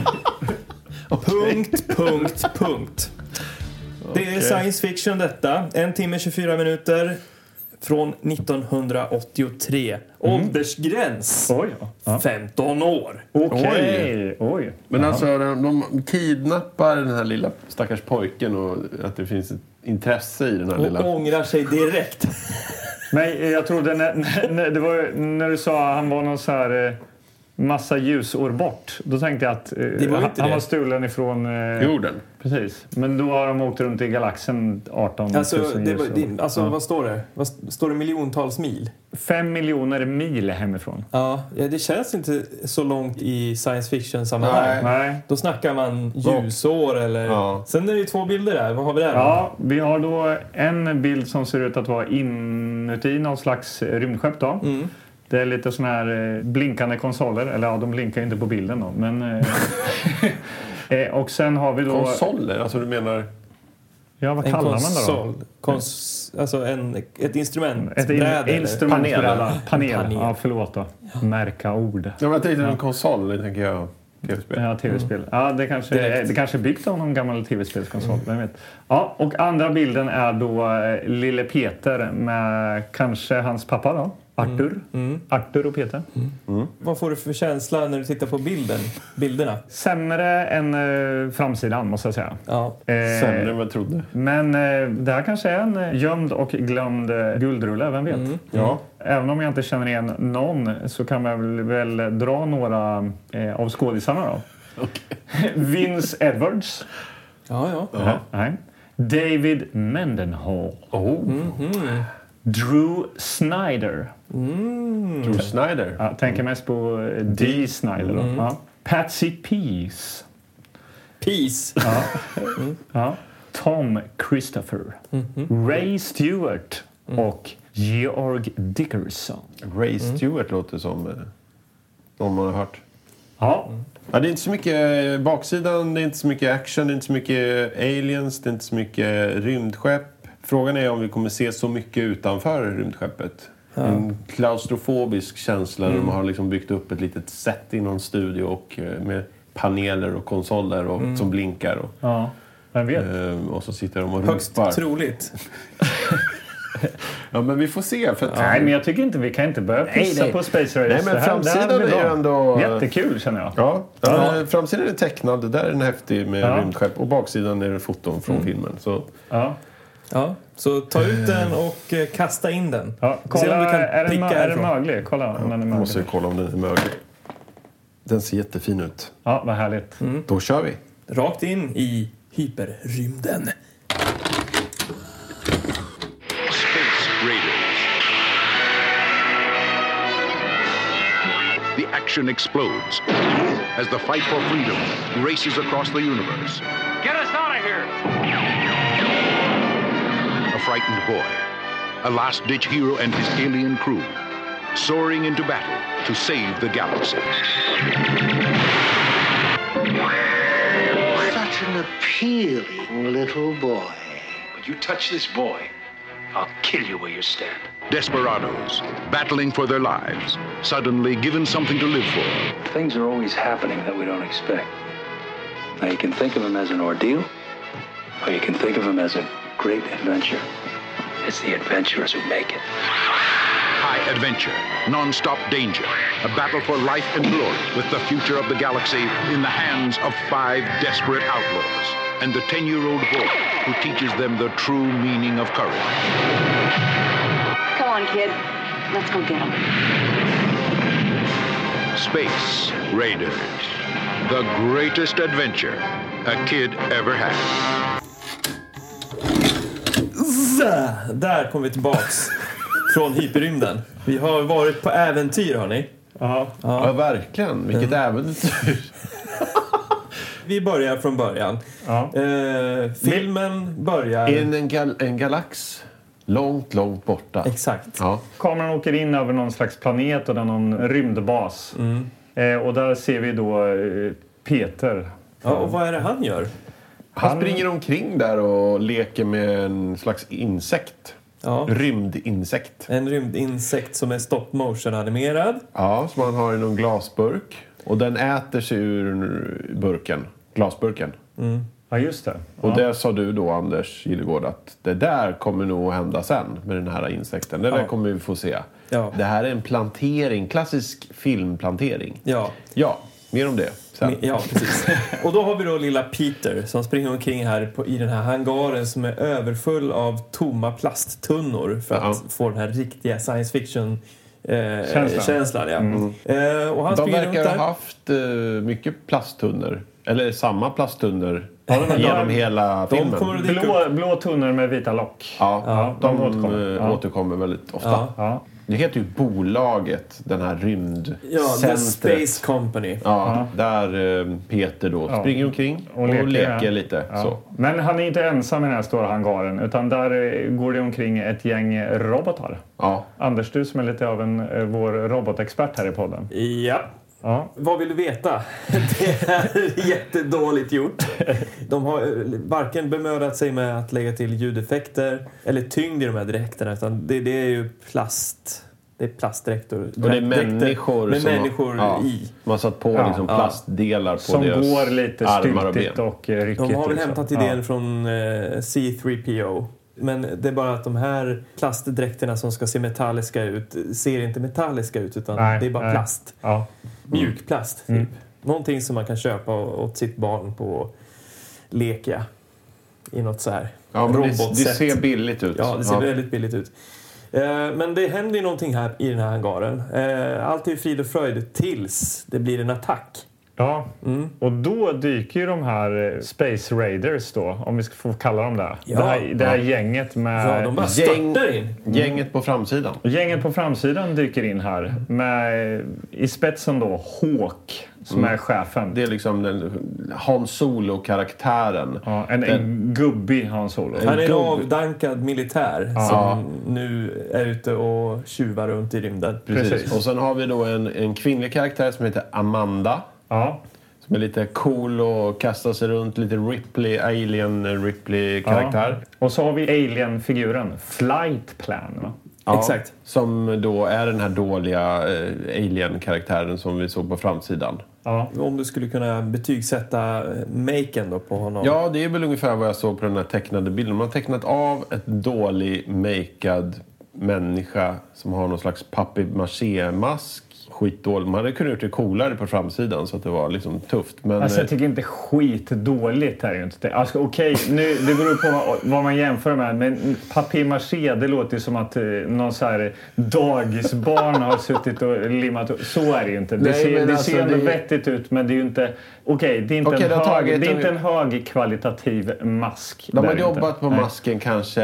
Speaker 1: Punkt, punkt, punkt. Det är science fiction detta. En timme 24 minuter från 1983. Åldersgräns
Speaker 2: Oj, ja. ja.
Speaker 1: 15 år.
Speaker 2: Okej. Oj.
Speaker 5: Men alltså, de, de kidnappar den här lilla stackars pojken och att det finns ett intresse i den här
Speaker 1: Och
Speaker 5: lilla...
Speaker 1: ångrar sig direkt.
Speaker 2: Men eh, jag trodde när, när, när, det var, ju- när du sa att han var någon så här eh, massa ljusår bort. Då tänkte jag att eh,
Speaker 1: var ju
Speaker 2: han,
Speaker 1: inte
Speaker 2: han
Speaker 1: det.
Speaker 2: var stulen ifrån... Eh,
Speaker 5: Jorden.
Speaker 2: Precis. Men då har de åkt runt i galaxen 18 000
Speaker 1: Alltså, det, var-
Speaker 2: ljusår.
Speaker 1: det, alltså
Speaker 2: Ja.
Speaker 1: vad står det? Vad, st- står det miljontals mil?
Speaker 2: Fem miljoner mil hemifrån.
Speaker 1: Ja, ja, det känns inte så långt i science
Speaker 5: Nej.
Speaker 1: fiction-sammanhang.
Speaker 2: Nej.
Speaker 1: Då snackar man ljusår eller...
Speaker 5: Ja.
Speaker 1: Sen är det ju två bilder där. Vad har vi där?
Speaker 2: Ja, vi har då en bild som ser ut att vara inuti någon slags rymdskepp. Då.
Speaker 1: Mm.
Speaker 2: Det är lite såna här eh, blinkande konsoler. Eller ja, de blinkar ju inte på bilden då. Men, eh, eh, och sen har vi då...
Speaker 5: Konsoler? Alltså du menar...
Speaker 2: Ja, vad
Speaker 1: En
Speaker 2: kallar man det då?
Speaker 1: konsol. Kons, alltså en, ett instrument.
Speaker 2: Ett in-
Speaker 1: bräde, eller?
Speaker 2: instrumentbräda. Panel.
Speaker 1: Panel.
Speaker 2: Ja, förlåt då. Märka ord.
Speaker 5: Ja, men jag tänkte en konsol, det tänker jag. Tv-spel.
Speaker 2: Ja, tv-spel. Ja, det kanske
Speaker 1: Direkt.
Speaker 2: det kanske är byggt av någon gammal tv-spelskonsol. Vem vet? Ja, och andra bilden är då eh, lille Peter med kanske hans pappa då. Arthur. Arthur och Peter.
Speaker 1: Vad får du för känsla när du tittar på bilden? bilderna?
Speaker 2: Sämre än eh, framsidan, måste jag säga.
Speaker 1: Ja.
Speaker 2: Eh,
Speaker 3: Sämre än vad jag trodde.
Speaker 2: Men eh, det här kanske är en eh, gömd och glömd eh, guldrulle, vem vet?
Speaker 3: Ja.
Speaker 2: Även om jag inte känner igen någon så kan man väl, väl dra några eh, av skådisarna då. Vince Edwards.
Speaker 1: Ja, ja.
Speaker 2: Nej. David Mendenhall.
Speaker 5: Oh,
Speaker 2: Drew Snyder.
Speaker 3: Drew Snyder.
Speaker 2: Ja, tänker mest på eh, D. Snyder. Då.
Speaker 3: Mm.
Speaker 2: Ja. Patsy Pease.
Speaker 1: Peace.
Speaker 2: Ja. Tom Christopher.
Speaker 3: Mm-hmm.
Speaker 2: Ray Stewart.
Speaker 3: Mm.
Speaker 2: Och Georg Dickerson.
Speaker 3: Ray Stewart låter som eh, någon man har hört.
Speaker 2: Ja,
Speaker 3: Ja, det är inte så mycket eh, baksidan, det är inte så mycket action, det är inte så mycket aliens, det är inte så mycket rymdskepp. Frågan är om vi kommer se så mycket utanför rymdskeppet. En klaustrofobisk känsla där de
Speaker 2: Mm.
Speaker 3: har liksom byggt upp ett litet set i någon studio och eh, med paneler och konsoler och, som blinkar. Och,
Speaker 2: Mm. ja. vem vet?
Speaker 3: ehm, och så sitter de och
Speaker 1: Högst
Speaker 3: ropar.
Speaker 1: troligt.
Speaker 3: Ja, men vi får se. För att,
Speaker 2: Nej, men jag tycker inte vi kan inte börja pissa
Speaker 3: nej.
Speaker 2: på Space Race.
Speaker 3: Nej, men
Speaker 2: Det här- det här
Speaker 3: framsidan
Speaker 2: blir
Speaker 3: är ju
Speaker 2: bra.
Speaker 3: ändå-
Speaker 2: Jättekul känner jag.
Speaker 3: Ja, ja. framsidan är tecknad, det där är en häftig med
Speaker 2: Ja. Mm.
Speaker 3: rymdskepp och baksidan är det foton från filmen. Så
Speaker 2: Ja.
Speaker 1: Ja. Så ta ut den och eh, kasta in den.
Speaker 2: Ja.
Speaker 1: Se om
Speaker 2: Kolla,
Speaker 1: du kan
Speaker 2: är, den,
Speaker 1: pricka
Speaker 2: mö- är den
Speaker 1: härifrån.
Speaker 2: möglig? Kolla om den är
Speaker 3: Jag måste
Speaker 2: möglig.
Speaker 3: ju kolla om den är möglig. Den ser jättefin ut.
Speaker 2: Ja, vad härligt.
Speaker 3: Då kör vi.
Speaker 1: Rakt in i hyperrymden.
Speaker 4: Space Raiders. The action explodes as the fight for freedom races across the universe.
Speaker 6: Get us out of here!
Speaker 4: A frightened boy, a last ditch hero, and his alien crew soaring into battle to save the galaxy.
Speaker 7: Such an appealing little boy.
Speaker 8: When you touch this boy, I'll kill you where you stand.
Speaker 4: Desperados, battling for their lives, suddenly given something to live for.
Speaker 8: Things are always happening that we don't expect. Now, you can think of him as an ordeal, or you can think of him as a great adventure. It's the adventurers who make it.
Speaker 4: High adventure, non-stop danger, a battle for life and glory with the future of the galaxy in the hands of five desperate outlaws and the 10-year-old boy who teaches them the true meaning of courage.
Speaker 9: Come on, kid. Let's go get him.
Speaker 4: Space Raiders, the greatest adventure a kid ever had.
Speaker 1: Zah! Där kom vi tillbaks från hyperrymden. Vi har varit på äventyr, hörni.
Speaker 3: Ja, verkligen. Vilket äventyr.
Speaker 1: Vi börjar från början.
Speaker 2: Ja.
Speaker 1: Eh, filmen börjar...
Speaker 3: In en, gal- en galax långt, långt borta.
Speaker 1: Exakt.
Speaker 3: Ja.
Speaker 2: Kameran åker in över någon slags planet och där någon rymdbas.
Speaker 3: Mm.
Speaker 2: Eh, och där ser vi då eh, Peter.
Speaker 1: Ja, och vad är det han gör?
Speaker 3: Han springer omkring där och leker med en slags insekt.
Speaker 1: Ja.
Speaker 3: Rymdinsekt.
Speaker 1: En rymdinsekt som är stop motion-animerad.
Speaker 3: Ja, som han har i någon glasburk. Och den äter sig ur burken. Glasburken.
Speaker 2: Ja, just det.
Speaker 3: Och det sa du då, Anders Gillegård, att det där kommer nog att hända sen med den här insekten. Det där
Speaker 1: Ja.
Speaker 3: kommer vi få se.
Speaker 1: Ja.
Speaker 3: Det här är en plantering, klassisk filmplantering.
Speaker 1: Ja,
Speaker 3: Ja, mer om det sen.
Speaker 1: ja precis. Och då har vi då lilla Peter som springer omkring här på, i den här hangaren som är överfull av tomma plasttunnor för att
Speaker 3: Ja.
Speaker 1: få den här riktiga science fiction eh,
Speaker 2: Känslan.
Speaker 1: känslan. ja. Eh, och han
Speaker 3: Mm. De
Speaker 1: springer runt
Speaker 3: verkar
Speaker 1: där.
Speaker 3: ha haft eh, mycket plasttunnor. Eller samma plasttunnor
Speaker 2: men de-
Speaker 3: genom hela
Speaker 1: De
Speaker 3: filmen.
Speaker 1: kommer att dyka upp.
Speaker 2: Blå, blå tunnor med vita lock.
Speaker 3: Ja, de, eh,
Speaker 2: de
Speaker 3: återkommer,
Speaker 2: återkommer. Ja.
Speaker 3: återkommer väldigt ofta.
Speaker 1: Ja.
Speaker 2: Ja.
Speaker 3: Det heter ju bolaget, den här
Speaker 1: Ja, The
Speaker 3: rymdcentret.
Speaker 1: Space Company.
Speaker 3: Ja, där eh, Peter då springer omkring och, leker,
Speaker 2: ja.
Speaker 3: lite.
Speaker 2: Ja.
Speaker 3: Så.
Speaker 2: Men han är inte ensam i den här stora hangaren utan där eh, går det omkring ett gäng robotar.
Speaker 3: Ja.
Speaker 2: Anders, du som är lite av en, eh, vår robotexpert här i podden.
Speaker 1: Ja.
Speaker 2: Ja.
Speaker 1: Vad vill du veta? Det är jättedåligt gjort. De har eh, varken bemödat sig med att lägga till ljudeffekter eller tyngd i de här dräkterna. Utan det, det är ju plast. Det är plastdräkter.
Speaker 3: Och det är
Speaker 1: dräkter
Speaker 3: människor,
Speaker 1: med
Speaker 3: som
Speaker 1: människor
Speaker 3: har, ja,
Speaker 1: i.
Speaker 3: Man satt på
Speaker 2: Ja,
Speaker 3: liksom
Speaker 1: ja.
Speaker 3: plastdelar på
Speaker 2: Som
Speaker 3: deras
Speaker 2: går lite
Speaker 3: armar och
Speaker 2: styltigt
Speaker 3: ben.
Speaker 2: och eh, ryckigt.
Speaker 1: De har väl
Speaker 2: liksom.
Speaker 1: hämtat idén från eh, C3PO. Men det är bara att de här plastdräkterna som ska se metalliska ut ser inte metalliska ut utan
Speaker 2: Nej,
Speaker 1: det är bara
Speaker 2: nej.
Speaker 1: plast.
Speaker 2: Ja.
Speaker 1: Mjukplast, typ. Någonting som man kan köpa åt sitt barn på Lekia. I något så här
Speaker 3: Ja, men det, det
Speaker 1: robotsätt.
Speaker 3: ser billigt ut.
Speaker 1: Ja, det ser väldigt billigt ut. Eh, Men det händer ju någonting här i den här hangaren. Eh, Allt är ju frid och fröjd tills det blir en attack.
Speaker 2: Ja,
Speaker 1: Mm.
Speaker 2: och då dyker ju de här eh, Space Raiders då, om vi ska få kalla dem det.
Speaker 1: Ja.
Speaker 2: Det här, det här gänget med...
Speaker 1: Ja, de bara
Speaker 3: Gäng-
Speaker 1: störtar in.
Speaker 3: Gänget på framsidan.
Speaker 2: Gänget på framsidan dyker in här med eh, i spetsen då Hawk som
Speaker 1: Mm.
Speaker 2: är chefen.
Speaker 3: Det är liksom den Han Solo-karaktären.
Speaker 2: Ja, en, en gubbig Hans Olof.
Speaker 1: Han är en
Speaker 3: Gubb.
Speaker 1: avdankad militär som nu är ute och tjuvar runt i rymden.
Speaker 2: Precis.
Speaker 3: Och sen har vi då en, en kvinnlig karaktär som heter Amanda.
Speaker 2: Ja.
Speaker 3: Som är lite cool och kastar sig runt. Lite Ripley, Alien Ripley-karaktär.
Speaker 2: Ja. Och så har vi alien-figuren Flight Plan. Va?
Speaker 3: Ja.
Speaker 1: Exakt.
Speaker 3: Som då är den här dåliga eh, Alien-karaktären som vi såg på framsidan.
Speaker 2: Ja.
Speaker 1: Om du skulle kunna betygsätta eh, maken då på honom.
Speaker 3: Ja, det är väl ungefär vad jag såg på den här tecknade bilden. Man har tecknat av ett dålig makead människa som har någon slags papier-maché-mask. Skitdålig. Man hade kunnat gjort det coolare på framsidan så att det var liksom tufft. Men
Speaker 2: Alltså
Speaker 3: eh,
Speaker 2: jag tycker inte skitdåligt här är ju inte det. Alltså okej, nu det beror på vad, vad man jämför med. Men papier-maché, det låter ju som att eh, någon så här dagisbarn har suttit och limmat. och- Så är det ju inte. Det
Speaker 3: Nej,
Speaker 2: ser,
Speaker 3: men
Speaker 2: det
Speaker 3: alltså,
Speaker 2: ser ändå
Speaker 3: det-
Speaker 2: vettigt ut men det är ju inte... Okej, det är inte,
Speaker 3: Okej, det
Speaker 2: en,
Speaker 3: har
Speaker 2: hög,
Speaker 3: tagit-
Speaker 2: det är inte en hög kvalitativ mask.
Speaker 3: de
Speaker 2: där
Speaker 3: har
Speaker 2: inte.
Speaker 3: jobbat på
Speaker 2: Nej. Mm,
Speaker 3: masken kanske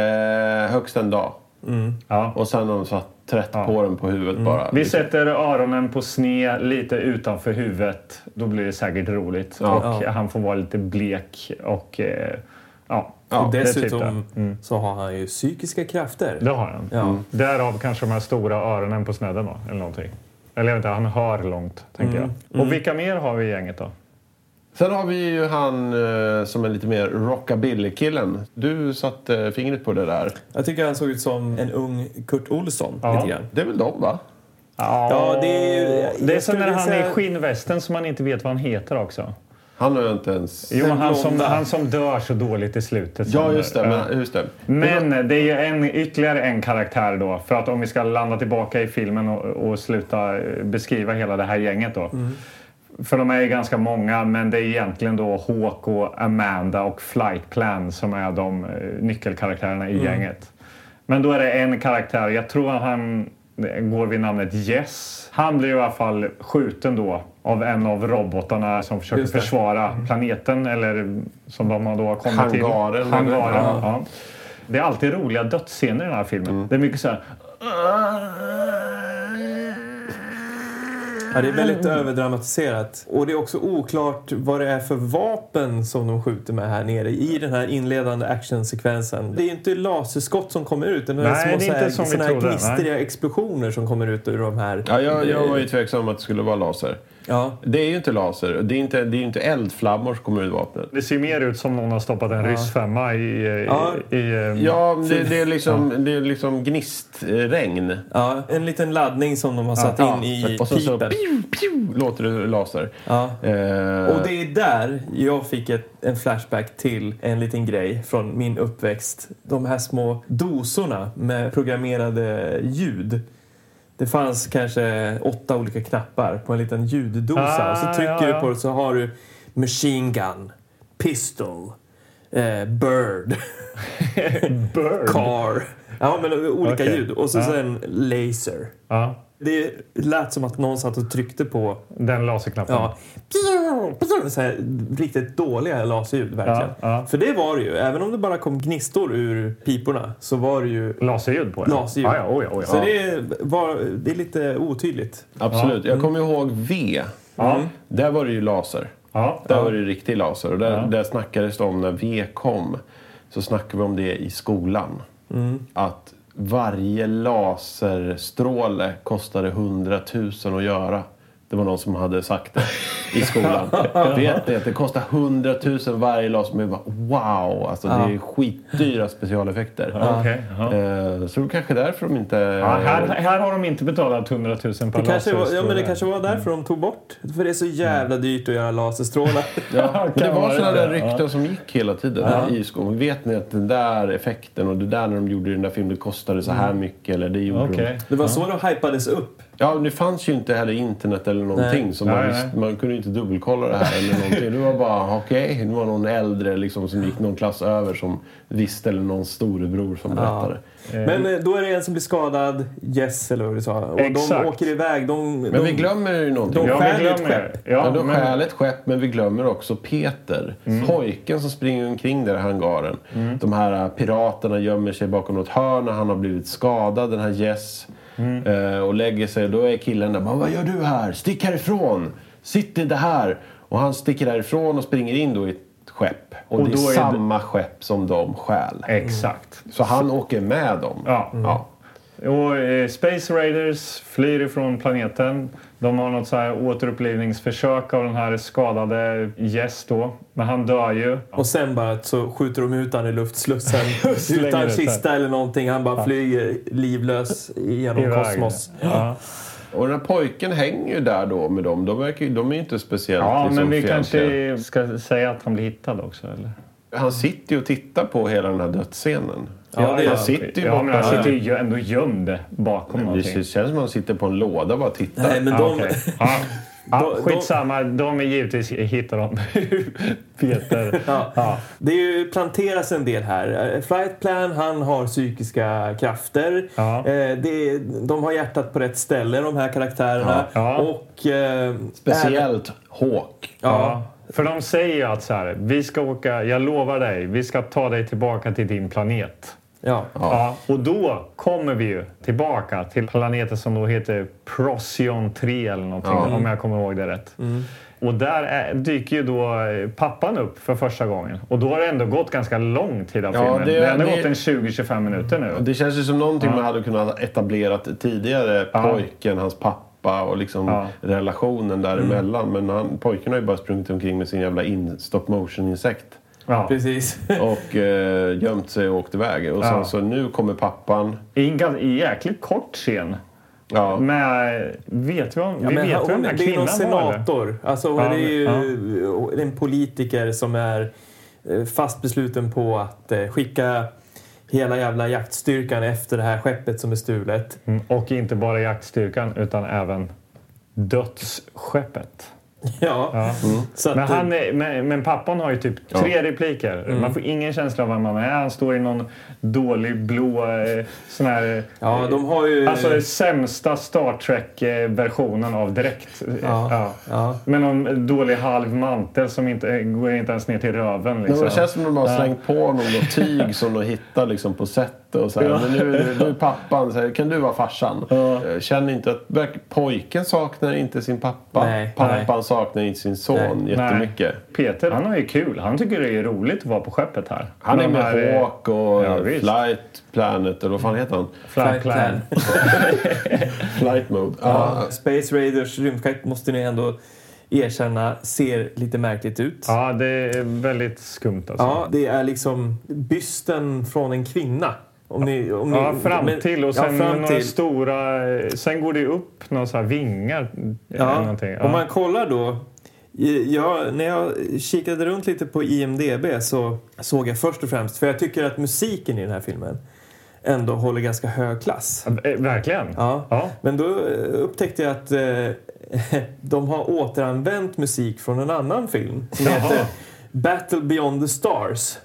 Speaker 3: högst en dag.
Speaker 2: Ja. Mm.
Speaker 3: Och sen har de satt trött på den på huvudet bara.
Speaker 2: Vi
Speaker 3: Liksom.
Speaker 2: sätter öronen på sne lite utanför huvudet. Då blir det säkert roligt. Och
Speaker 1: Ja.
Speaker 2: han får vara lite blek och... Eh, ja.
Speaker 1: och
Speaker 2: det är typ
Speaker 1: dessutom så har han ju psykiska krafter.
Speaker 2: Det har han.
Speaker 1: Ja.
Speaker 3: Mm.
Speaker 2: Därav kanske de här stora öronen på snedden då, eller någonting. Eller jag vet inte, han hör långt, tänker
Speaker 1: Mm.
Speaker 2: jag. Och vilka mer har vi i gänget då?
Speaker 3: Sen har vi ju han eh, som är lite mer rockabilly-killen. Du satte eh, fingret på det där.
Speaker 1: Jag tycker han såg ut som en ung Kurt Olsson.
Speaker 2: Ja.
Speaker 1: Lite grann.
Speaker 3: Det är väl de va?
Speaker 1: Ja, det är ju- jag
Speaker 2: Det är som
Speaker 1: skulle
Speaker 2: när han
Speaker 1: säga-
Speaker 2: är i skinnvästen som man inte vet vad han heter också.
Speaker 3: Han har ju inte ens...
Speaker 2: Jo,
Speaker 1: Den
Speaker 2: han som,
Speaker 1: blonda.
Speaker 2: han som dör så dåligt i slutet.
Speaker 3: Ja,
Speaker 2: som-
Speaker 3: just det.
Speaker 2: Ja.
Speaker 3: Men, just det.
Speaker 2: Men det är ju en, ytterligare en karaktär då. För att om vi ska landa tillbaka i filmen och, och sluta eh, beskriva hela det här gänget då.
Speaker 1: Mm.
Speaker 2: För de är ju ganska många, men det är egentligen då Hawk och Amanda och Flight Plan som är de eh, nyckelkaraktärerna i
Speaker 3: Mm.
Speaker 2: gänget. Men då är det en karaktär, jag tror att han eh, går vid namnet Yes. Han blir i alla fall skjuten då av en av robotarna som försöker
Speaker 1: Just det.
Speaker 2: försvara planeten eller som de då har kommit till.
Speaker 3: Mm. Hangaren, eller?
Speaker 2: Hangaren.
Speaker 3: Ja. Mm.
Speaker 2: Ja. Det är alltid roliga dödsscener i den här filmen. Det är mycket så här...
Speaker 1: Ja, det är väldigt överdramatiserat. Och det är också oklart vad det är för vapen som de skjuter med här nere i den här inledande actionsekvensen. Det är ju inte laserskott som kommer ut. Det är några
Speaker 2: Nej,
Speaker 1: små
Speaker 2: det är
Speaker 1: så här,
Speaker 2: inte som vi
Speaker 1: såna här
Speaker 2: trodde, nej.
Speaker 1: knistriga explosioner som kommer ut ur de här.
Speaker 3: Ja, jag, jag var ju tveksam att det skulle vara laser.
Speaker 1: Ja.
Speaker 3: Det är ju inte laser. Det är inte, det är ju inte eldflammor som kommer ur vapnet.
Speaker 2: Det ser mer ut som någon har stoppat en ryssfemma i... i,
Speaker 1: Ja.
Speaker 2: i, eh, i
Speaker 3: Mm. Ja, men det, det, är liksom, det är liksom gnistregn.
Speaker 1: Ja, en liten laddning som de har satt in i
Speaker 3: Och sen så
Speaker 1: pipen.
Speaker 3: pew, pew, låter det laser.
Speaker 1: Ja.
Speaker 3: Eh,
Speaker 1: Och det är där jag fick ett, en flashback till en liten grej från min uppväxt. De här små dosorna med programmerade ljud. Det fanns kanske åtta olika knappar på en liten ljuddosa.
Speaker 2: Ah,
Speaker 1: och så trycker
Speaker 2: ja, ja.
Speaker 1: du på det så har du machine gun, pistol, eh, bird,
Speaker 2: Bird.
Speaker 1: car. Ja, men olika
Speaker 2: Okej.
Speaker 1: ljud. Och så
Speaker 2: Ja.
Speaker 1: sen laser.
Speaker 2: Ja,
Speaker 1: Det lät som att någon satt och tryckte på
Speaker 2: den laserknappen.
Speaker 1: Ja. Så här, riktigt dåliga laserljud verkligen.
Speaker 2: Ja, ja.
Speaker 1: För det var det ju. Även om det bara kom gnistor ur piporna så var det ju...
Speaker 2: Laserljud på den. Ah,
Speaker 1: Laserljud.
Speaker 2: Ja, ja, oj, oj,
Speaker 1: Så
Speaker 2: ja.
Speaker 1: det, var, det är lite otydligt.
Speaker 3: absolut. Jag kommer ihåg V.
Speaker 2: Mm. Ja.
Speaker 3: Där var det ju laser.
Speaker 2: Ja.
Speaker 3: Där var det ju riktig laser. Och där, där snackades det om när V kom. Så snackade vi om det i skolan.
Speaker 2: Mm.
Speaker 3: Att varje laserstråle kostade 100 000 att göra. Det var någon som hade sagt det i skolan. Vet ni att det kostar 100 000 varje lag som är bara, wow! Alltså det är skitdyra specialeffekter.
Speaker 2: Okej, ja.
Speaker 3: Eh, Så det är kanske därför de inte...
Speaker 2: Ja, här, här har de inte betalat 100 000 per
Speaker 1: Det kanske, var,
Speaker 2: laser,
Speaker 1: ja,
Speaker 2: tror
Speaker 1: men det
Speaker 2: jag.
Speaker 1: kanske var därför de tog bort. För det är så jävla
Speaker 2: Mm.
Speaker 1: dyrt att göra laserstrålar.
Speaker 3: Ja, men det
Speaker 2: kan
Speaker 3: var
Speaker 2: vara
Speaker 3: sådana
Speaker 2: det, ja.
Speaker 3: där rykten som gick hela tiden i skolan. Vet ni att den där effekten och det där när de gjorde i den där filmen det kostade så här mycket eller det gjorde de.
Speaker 2: Mm. Okej.
Speaker 1: Det var så de hypades upp.
Speaker 3: Ja, men det fanns ju inte heller internet eller någonting.
Speaker 1: Nej.
Speaker 3: Så man,
Speaker 2: Nej,
Speaker 3: visste-
Speaker 2: nej.
Speaker 3: man kunde ju inte dubbelkolla det här eller någonting. Det var bara okej. Det var någon äldre liksom, som gick någon klass över som visste eller någon storebror som berättade.
Speaker 1: Men eh, då är det en som blir skadad, Yes eller vad du sa. Och de
Speaker 2: Exakt.
Speaker 1: åker iväg. De,
Speaker 3: Men
Speaker 1: de,
Speaker 3: vi glömmer ju någonting.
Speaker 1: de-
Speaker 3: Ja.
Speaker 2: Ja, vi
Speaker 1: Stjäl ett
Speaker 2: glömmer.
Speaker 1: skepp.
Speaker 2: Ja,
Speaker 3: de
Speaker 2: men- Mm.
Speaker 3: stjäl ett skepp, men vi glömmer också Peter. Pojken som springer omkring där i hangaren. De här äh, piraterna gömmer sig bakom något hörn när han har blivit skadad, den här Jess.
Speaker 2: Mm.
Speaker 3: Eh, Och lägger sig. Då är killen där. bara, Vad gör du här? Stick härifrån! Sitt inte här! Och han sticker därifrån och springer in då i ett skepp. Och,
Speaker 2: Och
Speaker 3: det är,
Speaker 2: då är det-
Speaker 3: samma skepp som de stjäl.
Speaker 2: Exakt.
Speaker 3: Så han åker med dem.
Speaker 2: Ja.
Speaker 3: Ja.
Speaker 2: Och eh, Space Raiders flyr ifrån planeten. De har något så här återupplivningsförsök av den här skadade Jess då. Men han dör ju.
Speaker 1: Och sen bara så skjuter de ut han i luftslussen.
Speaker 2: Slänger ut
Speaker 1: utan
Speaker 2: han.
Speaker 1: kista eller någonting. Han bara flyger livlös genom
Speaker 2: Iväg.
Speaker 1: kosmos.
Speaker 2: Ja,
Speaker 3: Och den här pojken hänger ju där då med dem. De, verkar, ju- de är ju inte speciellt
Speaker 2: ja
Speaker 3: liksom,
Speaker 2: men vi
Speaker 3: fientliga.
Speaker 2: kanske ska säga att han blir hittad också eller?
Speaker 3: Han sitter ju och tittar på hela den här dödsscenen.
Speaker 1: Ja, det gör
Speaker 3: han
Speaker 1: han.
Speaker 3: sitter ju
Speaker 2: Ja, men han
Speaker 3: borta.
Speaker 2: sitter ju gö- ändå gömd bakom
Speaker 3: Det
Speaker 2: någonting.
Speaker 3: känns som att han sitter på en låda och bara tittar.
Speaker 1: Nej, men
Speaker 2: Ja,
Speaker 1: de,
Speaker 2: okej. ja. Ja,
Speaker 1: De- de-
Speaker 2: skitsamma, de är givetvis hittar de Peter.
Speaker 1: Ja. Det är ju planteras en del här. Eh, Flight plan, han har psykiska krafter.
Speaker 2: Ja.
Speaker 1: Eh, det är, de har hjärtat på rätt ställe, de här karaktärerna.
Speaker 2: Ja. Ja.
Speaker 1: Och... Eh, även-
Speaker 3: Speciellt Hawk.
Speaker 1: Ja.
Speaker 2: För de säger ju att så här, vi ska åka, jag lovar dig, vi ska ta dig tillbaka till din planet.
Speaker 1: ja.
Speaker 2: Ja. och då kommer vi ju tillbaka till planeten som då heter Procyon 3 eller någonting, om jag kommer ihåg det rätt.
Speaker 1: Mm.
Speaker 2: Och där är, dyker ju då eh, pappan upp för första gången. Och då har det ändå gått ganska lång tid av
Speaker 3: Ja,
Speaker 2: filmen.
Speaker 3: det-
Speaker 2: Det, har ändå
Speaker 3: det-
Speaker 2: gått en 20-25 minuter nu.
Speaker 3: Det känns ju som någonting man hade kunnat etablerat tidigare.
Speaker 2: Ja.
Speaker 3: Pojken, hans pappa och liksom
Speaker 2: Ja.
Speaker 3: relationen däremellan. Men han, pojken har ju bara sprungit omkring med sin jävla in, stop motion-insekt.
Speaker 2: Ja.
Speaker 1: Precis.
Speaker 3: Och eh, gömt sig och åkt iväg. Och sen
Speaker 2: Ja.
Speaker 3: så nu kommer pappan.
Speaker 2: I en gan- i jäkligt kort scen.
Speaker 3: Ja.
Speaker 2: Men vet vi, om, vi
Speaker 1: Men
Speaker 2: vet
Speaker 1: han-
Speaker 2: ju vem
Speaker 1: det
Speaker 2: den här
Speaker 1: är ju
Speaker 2: kvinnan
Speaker 1: någon
Speaker 2: var eller?
Speaker 1: senator. Alltså,
Speaker 2: Ja,
Speaker 1: det är ju
Speaker 2: men-
Speaker 1: eh, en politiker som är eh, fast besluten på att eh, skicka hela jävla jaktstyrkan efter det här skeppet som är stulet.
Speaker 2: Mm, Och inte bara jaktstyrkan utan även dödsskeppet.
Speaker 1: Ja. Så att,
Speaker 3: eh,
Speaker 2: Men, han är, men, men pappan har ju typ tre repliker.
Speaker 3: Mm.
Speaker 2: Man får ingen känsla av vem han är. Han står i någon dålig blå eh, sån här... eh,
Speaker 1: Ja, de har ju...
Speaker 2: Alltså den sämsta Star Trek-versionen av dräkt.
Speaker 1: Ja.
Speaker 2: Ja.
Speaker 1: ja.
Speaker 2: Med någon dålig halv mantel som inte, eh, går inte ens ner till röven.
Speaker 3: Nej, men
Speaker 2: Liksom.
Speaker 3: det känns som att de har slängt på honom något tyg som de hittar liksom på sättet. Och så här. Men nu, nu, nu är pappan, så här, kan du vara farsan? Eh, Känner inte att verk- pojken saknar inte sin pappa.
Speaker 1: Nej,
Speaker 3: Pappan saknar inte sin son jättemycket.
Speaker 2: Peter, han har ju kul. Han tycker det är roligt att vara på skeppet här.
Speaker 3: Han är
Speaker 2: De
Speaker 3: med
Speaker 2: här, eh,
Speaker 3: Hawk och
Speaker 2: Ja, visst.
Speaker 3: Flight Planet, eller vad fan heter han?
Speaker 2: Flight Plan.
Speaker 3: Flight Mode. Ja.
Speaker 1: Space Raiders rymdskepp måste ni ändå erkänna ser lite märkligt ut. Ja.
Speaker 2: Ja, det är väldigt skumt alltså. Ja.
Speaker 1: det är liksom bysten från en kvinna. Om ni, om ni,
Speaker 2: fram
Speaker 1: Mm. men-
Speaker 2: till och sen
Speaker 1: ja, fram
Speaker 2: några
Speaker 1: till.
Speaker 2: stora... Sen går det ju upp några så här vingar. Eller
Speaker 1: Ja.
Speaker 2: någonting.
Speaker 1: Om
Speaker 2: Ja.
Speaker 1: man kollar då. i- Jag, när jag kikade runt lite på IMDB så såg jag först och främst, för jag tycker att musiken i den här filmen ändå håller ganska hög klass.
Speaker 2: Eh, Verkligen.
Speaker 1: Ja.
Speaker 2: Ja.
Speaker 1: Men då eh, upptäckte jag att eh, de har återanvänt musik från en annan film som heter Battle Beyond the Stars.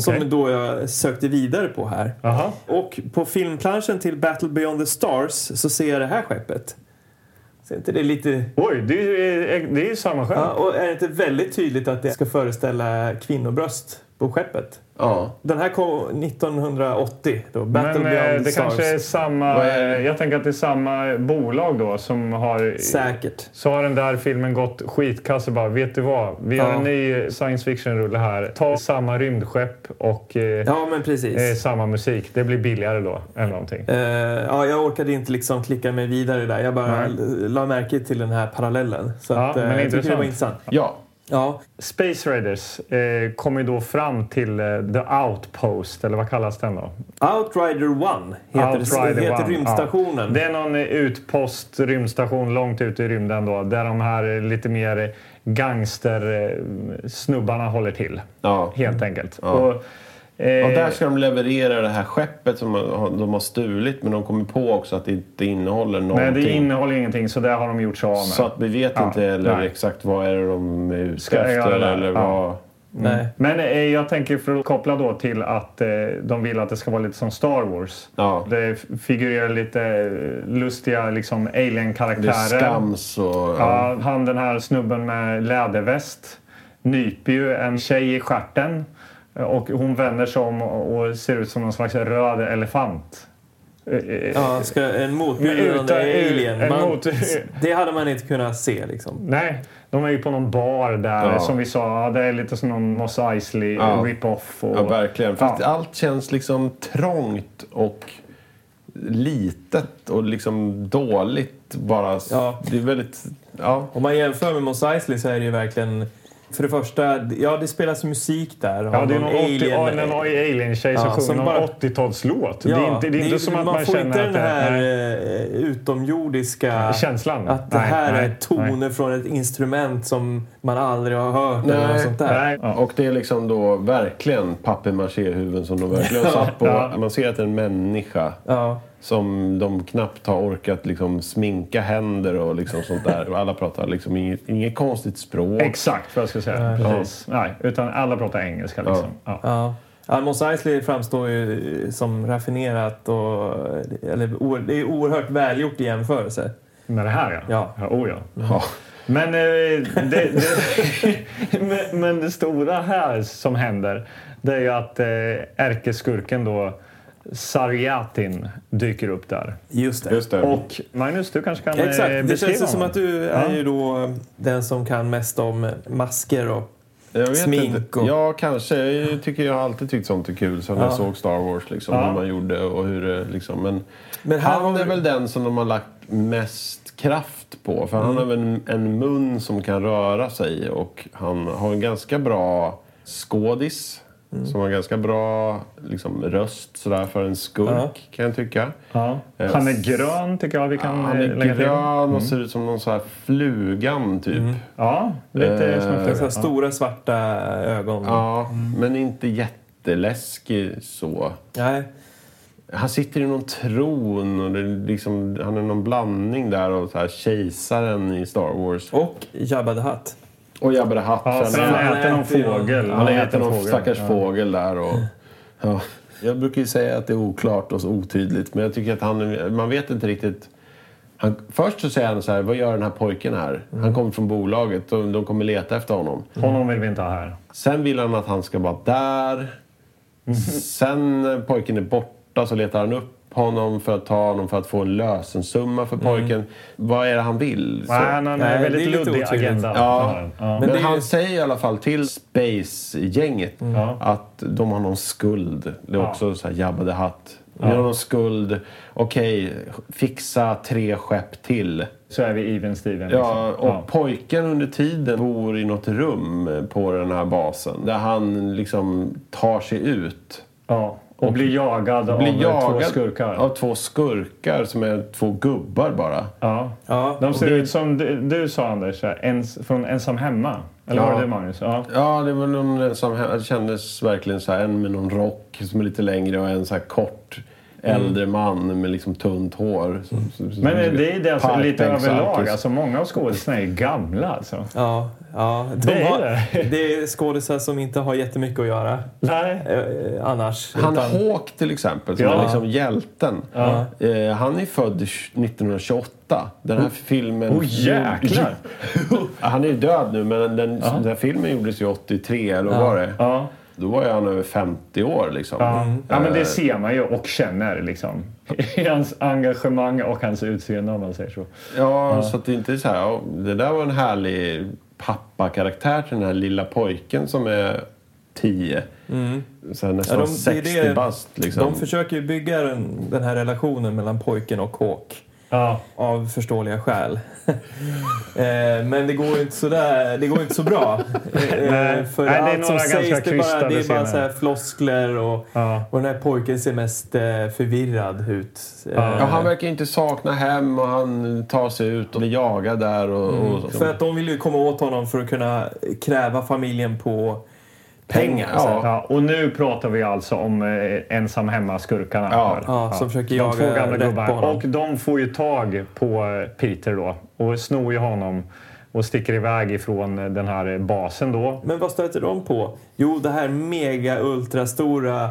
Speaker 1: Som
Speaker 2: Okej.
Speaker 1: då jag sökte vidare på här.
Speaker 2: Jaha.
Speaker 1: Och på filmplanschen till Battle Beyond the Stars så ser jag det här skeppet. Ser inte det lite...
Speaker 2: Oj, det är, det är ju samma skämt.
Speaker 1: Ja, och är det inte väldigt tydligt att det ska föreställa kvinnobröst? på skeppet.
Speaker 3: Ja.
Speaker 1: Den här kom 1980, då,
Speaker 2: Men eh,
Speaker 1: Battleground
Speaker 2: det
Speaker 1: Stars.
Speaker 2: kanske är samma...
Speaker 3: Vad är det?
Speaker 2: eh, Jag tänker att det är samma bolag då som har...
Speaker 1: Säkert.
Speaker 2: Så har den där filmen gått skitkass och bara, vet du vad? Vi har
Speaker 1: Ja.
Speaker 2: en ny science fiction-rulle här. Ta samma rymdskepp och eh,
Speaker 1: Ja, men precis.
Speaker 2: eh, samma musik. Det blir billigare då, eller någonting.
Speaker 1: Eh, ja, jag orkade inte liksom klicka mig vidare där. Jag bara
Speaker 2: Nej.
Speaker 1: l- la märke till den här parallellen. Så
Speaker 2: Ja,
Speaker 1: att, eh,
Speaker 2: men
Speaker 1: jag tyckte det
Speaker 2: intressant.
Speaker 1: var intressant.
Speaker 3: Ja.
Speaker 1: Ja,
Speaker 2: Space Raiders eh, kom ju då fram till eh, The Outpost, eller vad kallas den då?
Speaker 1: Outrider One heter,
Speaker 2: Outrider
Speaker 1: heter
Speaker 2: One,
Speaker 1: rymdstationen.
Speaker 2: Ja. Det är någon eh, utpost, rymdstation långt ut i rymden då, där de här eh, lite mer eh, gangstersnubbarna håller till.
Speaker 3: Ja.
Speaker 2: Helt enkelt. Och, eh,
Speaker 3: Och där ska de leverera det här skeppet som de har stulit men de kommer på också att det inte innehåller
Speaker 2: nej,
Speaker 3: någonting.
Speaker 2: det innehåller ingenting, så där har de gjort sig av med.
Speaker 3: Så att vi vet
Speaker 2: Ja,
Speaker 3: inte heller
Speaker 2: nej.
Speaker 3: exakt vad är det de är ute
Speaker 2: Ska jag
Speaker 3: efter
Speaker 2: göra det?
Speaker 3: eller
Speaker 2: Ja.
Speaker 3: vad...
Speaker 1: Nej.
Speaker 2: Men eh, jag tänker för att koppla då till att eh, de vill att det ska vara lite som Star Wars.
Speaker 3: Ja.
Speaker 2: Det f- figurerar lite eh, lustiga liksom,
Speaker 3: Det är
Speaker 2: alien-karaktärer.
Speaker 3: skams och... Ja.
Speaker 2: Ja, han den här snubben med läderväst nyper ju en tjej i stjärten eh, och hon vänder sig om och ser ut som någon slags röd elefant. Eh, eh,
Speaker 1: Ja, ska en motbjudande
Speaker 2: Utan-
Speaker 1: alien.
Speaker 2: en
Speaker 1: man,
Speaker 2: mot-
Speaker 1: det hade man inte kunnat se liksom.
Speaker 2: Nej, de är ju på någon bar där
Speaker 3: Ja.
Speaker 2: som vi sa, ja, det är lite som någon Mos Eisley
Speaker 3: Ja.
Speaker 2: rip-off. Och,
Speaker 3: verkligen. Fast
Speaker 2: Ja.
Speaker 3: allt känns liksom trångt och litet och liksom dåligt bara.
Speaker 1: Ja.
Speaker 3: Det är väldigt... Ja.
Speaker 1: Om man jämför med Mos Eisley så är det ju verkligen... För det första, ja det spelas musik där.
Speaker 2: Ja, det är någon 80 ja, någon alien-tjej som
Speaker 1: Ja,
Speaker 2: sjunger
Speaker 1: som
Speaker 2: någon
Speaker 1: bara-
Speaker 2: 80-talslåt. det är inte, det är inte som att man,
Speaker 1: får
Speaker 2: känner
Speaker 1: inte den
Speaker 2: att det
Speaker 1: här
Speaker 2: nej.
Speaker 1: eh, utomjordiska
Speaker 2: Känslan.
Speaker 1: Att det
Speaker 2: Nej,
Speaker 1: här
Speaker 2: nej,
Speaker 1: är toner från ett instrument som man aldrig har hört eller
Speaker 3: Nej.
Speaker 1: något sånt där.
Speaker 2: Nej. Ja.
Speaker 3: Och det är liksom då verkligen papier-maché-huvuden som de verkligen har satt på.
Speaker 2: Ja.
Speaker 3: Man ser att det är en människa
Speaker 1: Ja.
Speaker 3: som de knappt har orkat liksom sminka händer och liksom sånt där. Och alla pratar liksom inget, inget konstigt språk.
Speaker 2: Exakt vad jag skulle säga. Precis. Nej, utan alla pratar engelska liksom. Ja.
Speaker 1: Ja. Ja, Mos Eisley framstår ju eh, som raffinerat och eller, o- det är oerhört välgjort i jämförelse.
Speaker 2: Med det här ja.
Speaker 1: Ja.
Speaker 2: oh, ja.
Speaker 3: Ja.
Speaker 2: Men, eh, det, det, men, men det stora här som händer det är ju att eh, ärkeskurken då Sarjatin dyker upp där.
Speaker 1: Just
Speaker 3: Just det.
Speaker 2: Och Magnus, du kanske kan eh,
Speaker 1: Exakt, det
Speaker 2: beskriva
Speaker 1: känns ju som
Speaker 2: honom?
Speaker 1: att du är ju då eh, den som kan mest om masker och...
Speaker 3: jag vet
Speaker 1: smink
Speaker 3: inte.
Speaker 1: och-
Speaker 3: Ja, kanske. Jag tycker jag har alltid tyckt sånt är kul. Sen när jag såg Star Wars liksom,
Speaker 2: Ja.
Speaker 3: hur man gjorde och hur det liksom. Men,
Speaker 1: Men här
Speaker 3: han
Speaker 1: var-
Speaker 3: är väl den som de har lagt mest kraft på. För han har väl en, en mun som kan röra sig och han har en ganska bra skådis. Som har en ganska bra liksom, röst sådär för en skurk
Speaker 1: Ja.
Speaker 3: kan jag tycka.
Speaker 2: Ja. Han är grön tycker jag vi kan
Speaker 3: Han
Speaker 2: eh,
Speaker 3: är
Speaker 2: lägga till.
Speaker 3: grön och ser ut som någon så här flugan typ.
Speaker 2: Ja, lite
Speaker 3: Eh,
Speaker 1: Så här
Speaker 2: småfluga. Ja.
Speaker 1: Stora svarta ögon.
Speaker 3: Ja, men inte jätteläskig så.
Speaker 1: Nej.
Speaker 3: Han sitter i någon tron och det är liksom, han är någon blandning där av så här kejsaren i Star Wars.
Speaker 1: Och Jabba the Hutt.
Speaker 3: Och Jabba the Hutt.
Speaker 2: Ja,
Speaker 3: sen
Speaker 2: sen
Speaker 3: han,
Speaker 1: han
Speaker 2: äter någon
Speaker 1: äter ju-
Speaker 2: fågel.
Speaker 3: han äter
Speaker 2: äter
Speaker 3: någon
Speaker 2: fågel.
Speaker 3: stackars
Speaker 2: Ja.
Speaker 3: fågel där. Och, ja. Jag brukar ju säga att det är oklart och så otydligt, men jag tycker att han, man vet inte riktigt. Han, först så säger han så här, vad gör den här pojken här? Han kommer från bolaget och de kommer leta efter honom.
Speaker 2: Honom vill vi inte ha här.
Speaker 3: Sen vill han att han ska vara där. Sen när pojken är borta så letar han upp honom för att ta honom för att få en lösensumma för pojken. Vad är det han vill? Så.
Speaker 2: Nej, han har en
Speaker 1: Nej, det
Speaker 2: väldigt
Speaker 1: är lite
Speaker 2: luddig
Speaker 1: otydligt.
Speaker 2: agenda.
Speaker 3: Ja.
Speaker 2: Ja.
Speaker 3: Men,
Speaker 1: det är ju-
Speaker 3: han säger i alla fall till Space-gänget
Speaker 2: Ja.
Speaker 3: att de har någon skuld. Det är
Speaker 2: Ja.
Speaker 3: också så här Jabba the Hutt. De har någon skuld. Okej, fixa tre skepp till.
Speaker 2: Så är vi even Steven.
Speaker 3: Ja,
Speaker 2: liksom.
Speaker 3: och pojken under tiden bor i något rum på den här basen där han liksom tar sig ut.
Speaker 2: ja. och blir jagad
Speaker 3: Blir
Speaker 2: av
Speaker 3: jagad
Speaker 2: två skurkar.
Speaker 3: av två skurkar som är två gubbar bara.
Speaker 2: Ja.
Speaker 1: Ja.
Speaker 2: De ser ut som du, du sa Anders, så här, ens, från Ensam Hemma. Eller
Speaker 3: Ja.
Speaker 2: var det det Magnus? Ja.
Speaker 3: Ja, det var någon som det kändes verkligen så här. En med någon rock som är lite längre och en så här kort äldre man med liksom tunt hår. Som, som,
Speaker 2: Mm.
Speaker 3: som,
Speaker 2: Men eh, det är det alltså, lite
Speaker 3: parkbänks-
Speaker 2: överlag.
Speaker 3: alkis.
Speaker 2: Alltså, många av skådisarna är gamla alltså.
Speaker 1: Ja, ja. De
Speaker 2: Det är
Speaker 1: har,
Speaker 2: det.
Speaker 1: det är skådisar som inte har jättemycket att göra
Speaker 2: Nej.
Speaker 1: eh, eh, annars.
Speaker 3: Han
Speaker 1: utan-
Speaker 3: Hawk till exempel, som
Speaker 2: Ja.
Speaker 3: är liksom hjälten. Eh, han är född 1928. Den här filmen...
Speaker 2: Oh, jäklar!
Speaker 3: han är ju död nu, men den, den här filmen gjordes ju 83, eller vad var det?
Speaker 2: Ja.
Speaker 3: Då var ju han över 50 år liksom.
Speaker 2: Ja. ja, men det ser man ju och känner liksom. I hans engagemang och hans utseende om man säger så.
Speaker 3: Ja, så att det inte är så här, ja, det där var en härlig pappakaraktär till den här lilla pojken som är 10. Så här nästan
Speaker 1: Mm. Ja, de- det är
Speaker 3: 60
Speaker 1: det-
Speaker 3: bast liksom.
Speaker 1: De försöker ju bygga den, den här relationen mellan pojken och Hawk.
Speaker 2: Ja,
Speaker 1: Av förståeliga skäl. eh, men det går ju inte så, där, det går inte så bra. Eh,
Speaker 2: Nej.
Speaker 1: för
Speaker 2: Nej, det är
Speaker 1: allt som
Speaker 2: några ganska
Speaker 1: sägs, det är bara, det är
Speaker 2: krystade
Speaker 1: bara
Speaker 2: scener.
Speaker 1: så här floskler och,
Speaker 2: ja.
Speaker 1: och den här pojken ser mest eh, förvirrad ut. Eh,
Speaker 3: Ja, han verkar inte sakna hem och han tar sig ut och blir jagad där. Och, och
Speaker 1: För att de vill ju komma åt honom för att kunna kräva familjen på pengar. så här.
Speaker 3: Ja.
Speaker 2: Ja, och nu pratar vi alltså om eh, ensam hemma-skurkarna.
Speaker 3: Ja.
Speaker 2: här.
Speaker 1: Ja, som försöker
Speaker 2: de
Speaker 1: jaga
Speaker 2: två gamla
Speaker 1: rätt på
Speaker 2: gubbar.
Speaker 1: honom.
Speaker 2: Och de får ju tag på eh, Peter då och snor ju honom och sticker iväg ifrån eh, den här eh, basen då.
Speaker 1: Men vad stöter de på? Jo, det här mega ultrastora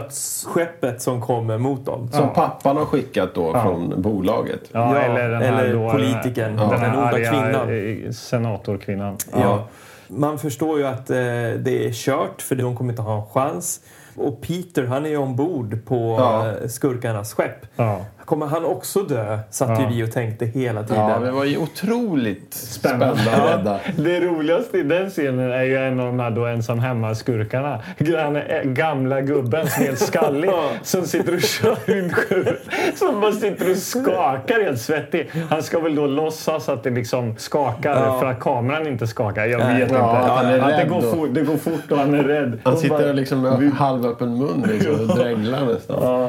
Speaker 1: dödsskeppet som kommer mot dem.
Speaker 3: Som pappan har skickat då från bolaget.
Speaker 2: Ja,
Speaker 1: Ja,
Speaker 2: eller den här
Speaker 1: eller
Speaker 2: då, eh,
Speaker 1: politikern,
Speaker 2: den här,
Speaker 1: den
Speaker 2: den här
Speaker 1: onda
Speaker 2: arga
Speaker 1: kvinnan.
Speaker 2: kvinnan. senatorkvinnan.
Speaker 1: Ja. Man förstår ju att eh, det är kört för de kommer inte ha en chans. Och Peter han är ju ombord på
Speaker 3: Ja.
Speaker 1: eh, skurkarnas skepp.
Speaker 2: Ja.
Speaker 1: Kommer han också dö? Satt
Speaker 2: Ja.
Speaker 1: ju vi och tänkte hela tiden.
Speaker 3: Ja, vi var ju otroligt
Speaker 2: Spännande.
Speaker 3: spända och rädda.
Speaker 2: Det roligaste i den scenen är ju en av de här då ensam hemma-skurkarna. Den här gamla gubben som är helt skallig som sitter och kör rymdskeppet. Som bara sitter och skakar helt svettig. Han ska väl då låtsas att det liksom skakar
Speaker 1: Ja.
Speaker 2: för att kameran inte skakar. Jag vet inte.
Speaker 3: Ja, han är
Speaker 2: att det,
Speaker 3: rädd
Speaker 2: går
Speaker 3: då.
Speaker 2: fort, det går fort och han är rädd.
Speaker 3: Han
Speaker 2: Och
Speaker 3: sitter
Speaker 2: bara-
Speaker 3: och liksom med halvöppen mun liksom, och dreglar nästan.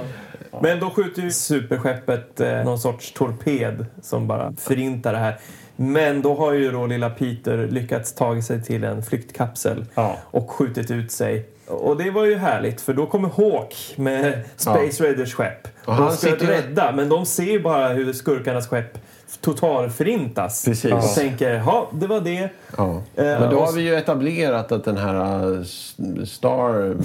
Speaker 1: Men då skjuter ju superskeppet eh, någon sorts torped som bara förintar det här. Men då har ju då lilla Peter lyckats ta sig till en flyktkapsel
Speaker 2: Ja.
Speaker 1: och skjutit ut sig. Och det var ju härligt för då kommer Hawk med Space Raiders skepp och,
Speaker 3: han
Speaker 1: ska
Speaker 3: sitter-
Speaker 1: rädda men de ser ju bara hur skurkarnas skepp totalförintas.
Speaker 3: Precis.
Speaker 1: Och tänker, ja det var det.
Speaker 3: Ja.
Speaker 1: Eh,
Speaker 3: Men då
Speaker 1: och
Speaker 3: har vi ju etablerat att den här äh, s- Star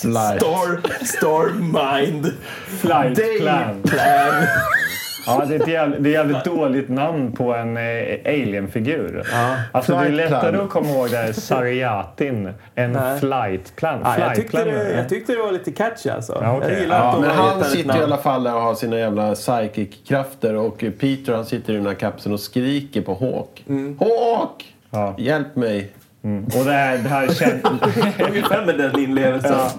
Speaker 3: Flight...
Speaker 1: Star, Star Mind
Speaker 2: Flight
Speaker 1: Day
Speaker 2: Plan.
Speaker 1: Plan.
Speaker 2: Ja, det är ett jävligt, det är jävligt dåligt namn på en eh, alienfigur. Ja. Alltså, det är
Speaker 3: Flight
Speaker 2: lättare
Speaker 3: plan.
Speaker 2: att komma ihåg det här Sariatin än
Speaker 1: Nej.
Speaker 2: flightplan.
Speaker 1: Ja, Ah, jag,
Speaker 2: Flight
Speaker 1: tyckte
Speaker 2: plan.
Speaker 1: det, jag tyckte det var lite catchy alltså.
Speaker 2: Ja, okej.
Speaker 1: Jag gillar
Speaker 2: Ja,
Speaker 1: att de
Speaker 3: Men
Speaker 1: har gett
Speaker 3: han
Speaker 1: den ett
Speaker 3: sitter ju i
Speaker 1: namn.
Speaker 3: alla fall där och har sina jävla psychic-krafter och Peter han sitter i den här kapseln och skriker på Hawk. Hawk!
Speaker 2: Ja.
Speaker 3: Hjälp mig!
Speaker 2: Och det här, det här känns...
Speaker 1: Ungefär med den inlevelsen.
Speaker 2: ja.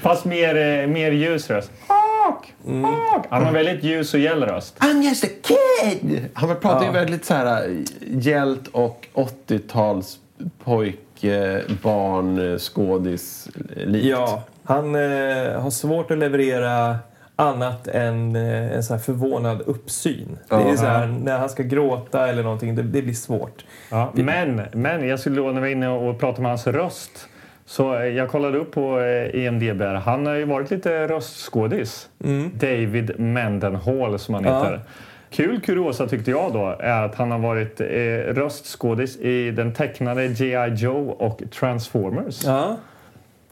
Speaker 2: Fast mer, eh, mer ljus röst. Hawk!
Speaker 1: Mm.
Speaker 2: Hawk! Han har väldigt ljus och gäll röst.
Speaker 3: I'm just a kid! Han pratar ju väldigt så här äh, hjält och 80-tals pojk, eh, barn, eh, skådis eh, likt.
Speaker 1: Ja, han eh, har svårt att leverera annat än eh, en så här förvånad uppsyn. Det är så här, när han ska gråta eller någonting, det, det blir svårt.
Speaker 2: Ja. Men, men jag skulle då, när vi var inne och pratade om hans röst. Så eh, jag kollade upp på eh, IMDB. här. Han har ju varit lite röstskådis.
Speaker 1: Mm.
Speaker 2: David Mendenhall som han heter. Kul kuriosa tyckte jag då är att han har varit eh, röstskådis i den tecknade G.I. Joe och Transformers. Ja.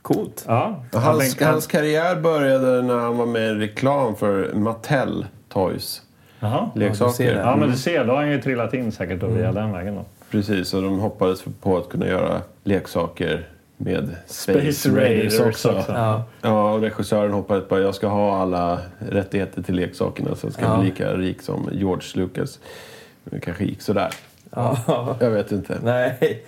Speaker 1: Ja, coolt.
Speaker 2: han
Speaker 3: Hans,
Speaker 2: tänkte-
Speaker 3: hans karriär började när han var med i en reklam för Mattel Toys
Speaker 2: Jaha.
Speaker 1: du ser
Speaker 3: leksaker.
Speaker 1: det.
Speaker 2: Ja, men du ser, då har han ju trillat in säkert då
Speaker 1: Mm.
Speaker 2: via den vägen. Då.
Speaker 3: Precis, och de hoppades på att kunna göra leksaker med Space,
Speaker 2: Space
Speaker 3: Raiders
Speaker 2: Raiders
Speaker 3: också.
Speaker 2: också.
Speaker 1: Ja.
Speaker 3: Ja, och regissören hoppades på att jag ska ha alla rättigheter till leksakerna så jag ska bli lika rik som George Lucas. Det kanske gick sådär.
Speaker 1: Ja.
Speaker 3: Jag vet inte.
Speaker 1: Nej.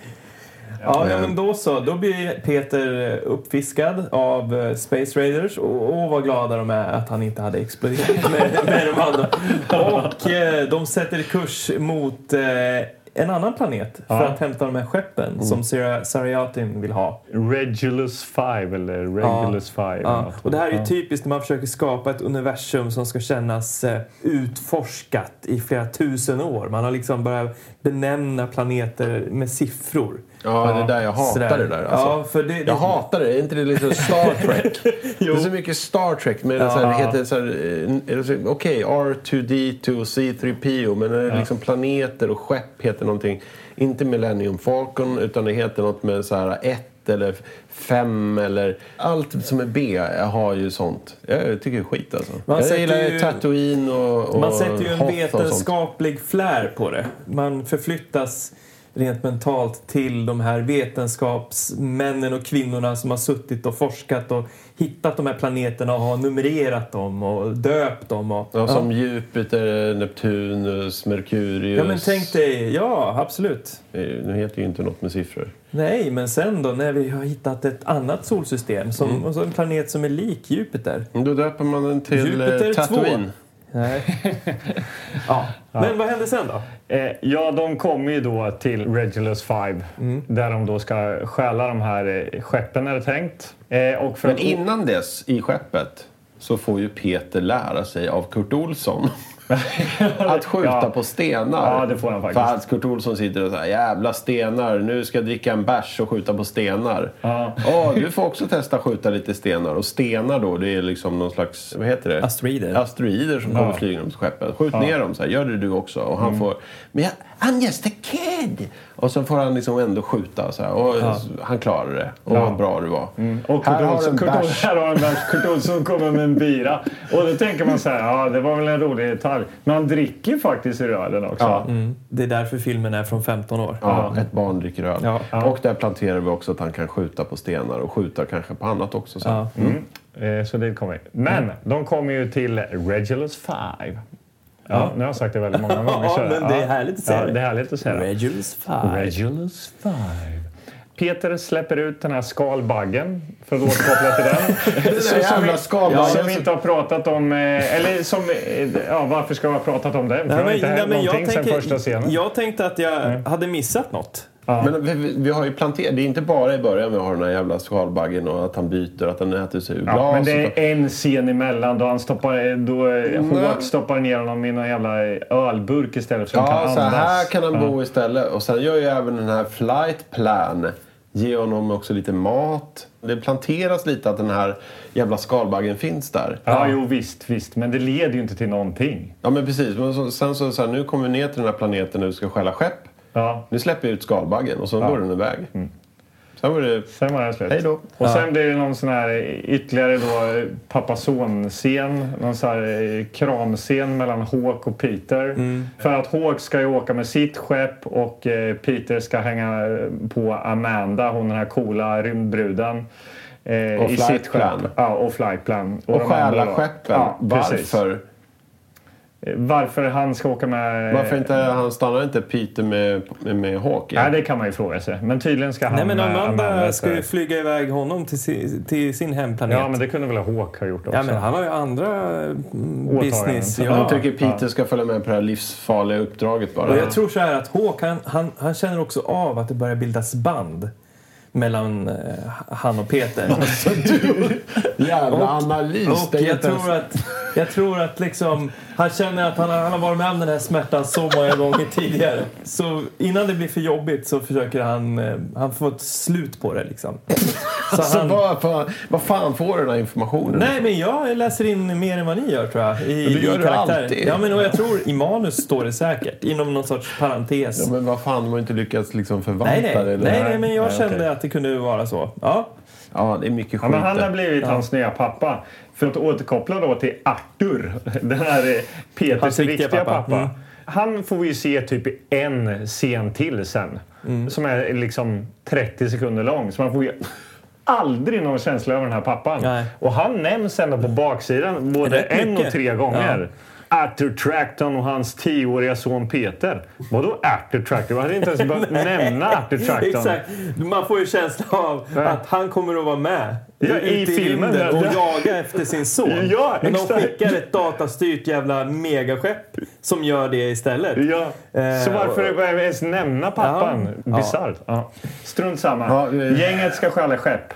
Speaker 1: Ja, ja, men då så. Då blir Peter uppfiskad av eh, Space Raiders. Och, och vad glada de är att han inte hade exploderat med, med de andra. Och eh, de sätter kurs mot eh, en annan planet för
Speaker 2: Ja.
Speaker 1: att hämta de här skeppen som Sara- Sariatin vill ha.
Speaker 2: Regulus 5 eller Regulus 5. eller
Speaker 1: Ja.
Speaker 2: något.
Speaker 1: Och det här är ju typiskt när man försöker skapa ett universum som ska kännas eh, utforskat i flera tusen år. Man har liksom börjat benämna planeter med siffror.
Speaker 3: Ja, det är där jag hatar
Speaker 1: Sådär.
Speaker 3: det där. Alltså.
Speaker 1: Ja, för det, det,
Speaker 3: Jag hatar det. Är inte det liksom Star Trek? det är så mycket Star Trek. Men så här, det heter så här, eh, är det så- Okej, R2D2, C3PO. Men när det är liksom planeter och skepp heter någonting. Inte Millennium Falcon, utan det heter något med så här ett eller fem eller... Allt som är B har ju sånt. Jag tycker det är skit alltså.
Speaker 1: Man
Speaker 3: jag
Speaker 1: sätter
Speaker 3: gillar ju
Speaker 1: ju-
Speaker 3: Tatooine och, och
Speaker 1: Man sätter ju en
Speaker 3: Hoth och sånt.
Speaker 1: vetenskaplig flär på det. Man förflyttas rent mentalt till de här vetenskapsmännen och kvinnorna som har suttit och forskat och hittat de här planeterna och har numrerat dem och döpt dem. Och,
Speaker 3: Ja, som Jupiter, Neptunus, Merkurius.
Speaker 1: ja men tänk dig, ja absolut.
Speaker 3: Eh, Nu heter ju inte något med siffror.
Speaker 1: Nej, men sen då när vi har hittat ett annat solsystem, som,
Speaker 3: Mm.
Speaker 1: och så en planet som är lik Jupiter.
Speaker 3: Men Då döper man den till eh,
Speaker 1: Jupiter 2.
Speaker 3: Tatooine.
Speaker 1: Nej. ja. Men vad hände sen då?
Speaker 2: Eh, ja, de kommer ju då till Regulus 5 där de då ska stjäla de här eh, skeppen är det tänkt. Eh, och för
Speaker 3: Men
Speaker 2: att-
Speaker 3: innan dess, i skeppet, så får ju Peter lära sig av Kurt Olsson att skjuta
Speaker 2: Ja.
Speaker 3: på stenar.
Speaker 2: Ja, det får han faktiskt.
Speaker 3: För att Kurt Olsson sitter och säger jävla stenar, nu ska jag dricka en bärs och skjuta på stenar.
Speaker 2: Ja.
Speaker 3: "Ja, du får också testa skjuta lite stenar. Och stenar då, det är liksom någon slags, vad heter det?
Speaker 1: Asteroider.
Speaker 3: Asteroider som kommer flygande mot skeppet. Skjut ner dem, så här, gör det du också. Och
Speaker 2: Mm.
Speaker 3: han får, men jag, I'm just a kid! Och så får han liksom ändå skjuta så här. Och han klarade det. Och vad bra du var.
Speaker 2: Och
Speaker 3: Här
Speaker 2: Kurt
Speaker 3: har
Speaker 2: Olsson,
Speaker 3: du en
Speaker 2: Kurt,
Speaker 3: bärs.
Speaker 2: här har en bärs. Kurt Olsson kommer med en bira. Och då tänker man så här, ja det var väl en rolig detalj. Men han dricker ju faktiskt i rölen också.
Speaker 3: Ja.
Speaker 1: Det är därför filmen är från 15 år.
Speaker 3: Ja, ett barn dricker öl.
Speaker 1: Ja, ja.
Speaker 3: Och där planterar vi också att han kan skjuta på stenar och skjuta kanske på annat också. Mm. Så.
Speaker 1: Ja.
Speaker 2: Eh, Så det kommer. Men de kommer ju till Regulus 5. Ja, Nu har jag sagt det väldigt många gånger.
Speaker 1: Ja,
Speaker 2: så-
Speaker 1: men det är härligt att säga
Speaker 2: ja,
Speaker 1: det.
Speaker 2: det. är härligt att säga det.
Speaker 1: Regulus 5.
Speaker 2: Regulus 5. Peter släpper ut den här skalbaggen, för att återkoppla till den.
Speaker 3: Den där jävla skalbaggen
Speaker 2: som vi
Speaker 3: som-
Speaker 2: inte har pratat om... eh, Eller som... eh, Ja, varför ska vi ha pratat om den? För det har inte hänt någonting sen första scenen.
Speaker 1: jag tänkte att jag hade missat något.
Speaker 3: Men vi- vi, vi har ju planterat, det är inte bara i början vi har den här jävla skalbaggen och att han byter, att han äter sig ur
Speaker 2: Ja,
Speaker 3: glas.
Speaker 2: men det
Speaker 3: och-
Speaker 2: är en scen emellan då han stoppar, då eh,
Speaker 3: Nej.
Speaker 2: Hawk stoppar ner honom i någon jävla eh, ölburk istället för att han
Speaker 3: Ja,
Speaker 2: kan
Speaker 3: så
Speaker 2: andas.
Speaker 3: här kan han bo istället. Och sen gör ju även den här flight plan. Ge honom också lite mat. Det planteras lite att den här jävla skalbaggen finns där.
Speaker 2: Ja, jo visst, visst. Men det leder ju inte till någonting.
Speaker 3: Ja, men precis. Men så, sen så, så här, nu kommer vi ner till den här planeten nu ska stjäla skepp.
Speaker 2: Ja.
Speaker 3: Nu släpper vi ut skalbaggen och så går den iväg.
Speaker 1: Mm.
Speaker 3: Sen var det...
Speaker 2: Sen var det slut.
Speaker 3: Hej då.
Speaker 2: Och sen blir det någon sån här eh, ytterligare då eh, pappa-son-scen. Någon sån här eh, kramscen mellan Hawk och Peter.
Speaker 1: Mm.
Speaker 2: För att Hawk ska ju åka med sitt skepp och eh, Peter ska hänga eh, på Amanda, hon den här coola rymdbruden. eh,
Speaker 3: Och
Speaker 2: i
Speaker 3: flight
Speaker 2: sitt skepp.
Speaker 3: plan.
Speaker 2: Ja, och flightplan.
Speaker 3: Och
Speaker 2: de andra
Speaker 3: stjäla
Speaker 2: då.
Speaker 3: skeppen.
Speaker 2: Ja, precis.
Speaker 3: Varför?
Speaker 2: Eh, Varför han ska åka med...
Speaker 1: Eh.
Speaker 3: Varför inte, han stannar inte Peter med, med, med Hawk?
Speaker 2: Nej, det kan man ju fråga sig. Men tydligen ska han
Speaker 1: Nej, men
Speaker 2: med
Speaker 1: Amanda,
Speaker 2: Amanda
Speaker 1: ska ju
Speaker 2: så-
Speaker 1: flyga iväg honom till sin, till sin hemplanet.
Speaker 2: Ja, men det kunde väl Hawk ha gjort också.
Speaker 1: Ja, men han har ju andra mm,
Speaker 2: Åtaganden.
Speaker 1: business.
Speaker 2: Han
Speaker 1: Ja.
Speaker 3: Han tycker Peter ska följa med på det här livsfarliga uppdraget bara.
Speaker 1: Och jag tror så här att Håkan, han, han känner också av att det börjar bildas band mellan eh, han och Peter.
Speaker 3: Jävla
Speaker 1: Och-
Speaker 3: analys!
Speaker 1: Och
Speaker 3: Det är
Speaker 1: jag
Speaker 3: inte ens-
Speaker 1: tror att, jag tror att liksom, han känner att han, har- han har varit med om den här smärtan så många gånger tidigare. Så innan det blir för jobbigt så försöker han, eh, han får ett slut på det liksom. Så
Speaker 3: Alltså,
Speaker 1: han,
Speaker 3: vad, fan, vad fan får du den här informationen?
Speaker 1: nej men jag läser in mer än vad ni gör tror jag. I,
Speaker 3: Men det gör
Speaker 1: i
Speaker 3: du
Speaker 1: karaktär.
Speaker 3: alltid.
Speaker 1: Ja men och jag tror i manus står det säkert. Inom någon sorts parentes.
Speaker 3: Ja, men vad fan, de har inte lyckats liksom förvalta
Speaker 1: Nej, nej.
Speaker 3: det.
Speaker 1: Nej,
Speaker 3: eller-
Speaker 1: nej, men jag
Speaker 2: Nej,
Speaker 1: kände
Speaker 2: okej.
Speaker 1: att det kunde vara så. Ja.
Speaker 3: Ja, det är mycket skit.
Speaker 2: Ja, men han
Speaker 3: där.
Speaker 2: har blivit hans nya pappa. För att återkoppla då till Arthur, den här eh, Peters
Speaker 1: Hans riktiga
Speaker 2: riktiga pappa.
Speaker 1: pappa. Mm.
Speaker 2: Han får vi ju se typ i en scen till sen.
Speaker 1: Mm.
Speaker 2: Som är liksom 30 sekunder lång. Så man får ju aldrig någon känsla över den här pappan.
Speaker 1: Nej.
Speaker 2: Och han nämns ändå på baksidan både
Speaker 1: Rätt
Speaker 2: en och
Speaker 1: mycket.
Speaker 2: tre gånger. Arthur Tracton och hans tioåriga son Peter. Vadå Arthur Tracton? Man hade inte ens behövt nämna Arthur Tracton.
Speaker 1: Exakt. Man får ju känslan av
Speaker 2: Ja.
Speaker 1: att han kommer att vara med
Speaker 2: Ja, i
Speaker 1: ute
Speaker 2: filmen,
Speaker 1: rymden och
Speaker 2: ja.
Speaker 1: jaga efter sin son.
Speaker 2: Ja,
Speaker 1: Men de
Speaker 2: exakt.
Speaker 1: skickar ett datastyrt jävla megaskepp som gör det istället.
Speaker 2: Ja. Så
Speaker 1: Eh,
Speaker 2: varför behöver jag ens nämna pappan?
Speaker 1: Ja.
Speaker 2: Bisarrt. Ja. Strunt samma.
Speaker 3: Ja, vi-
Speaker 2: Gänget ska stjäla skepp.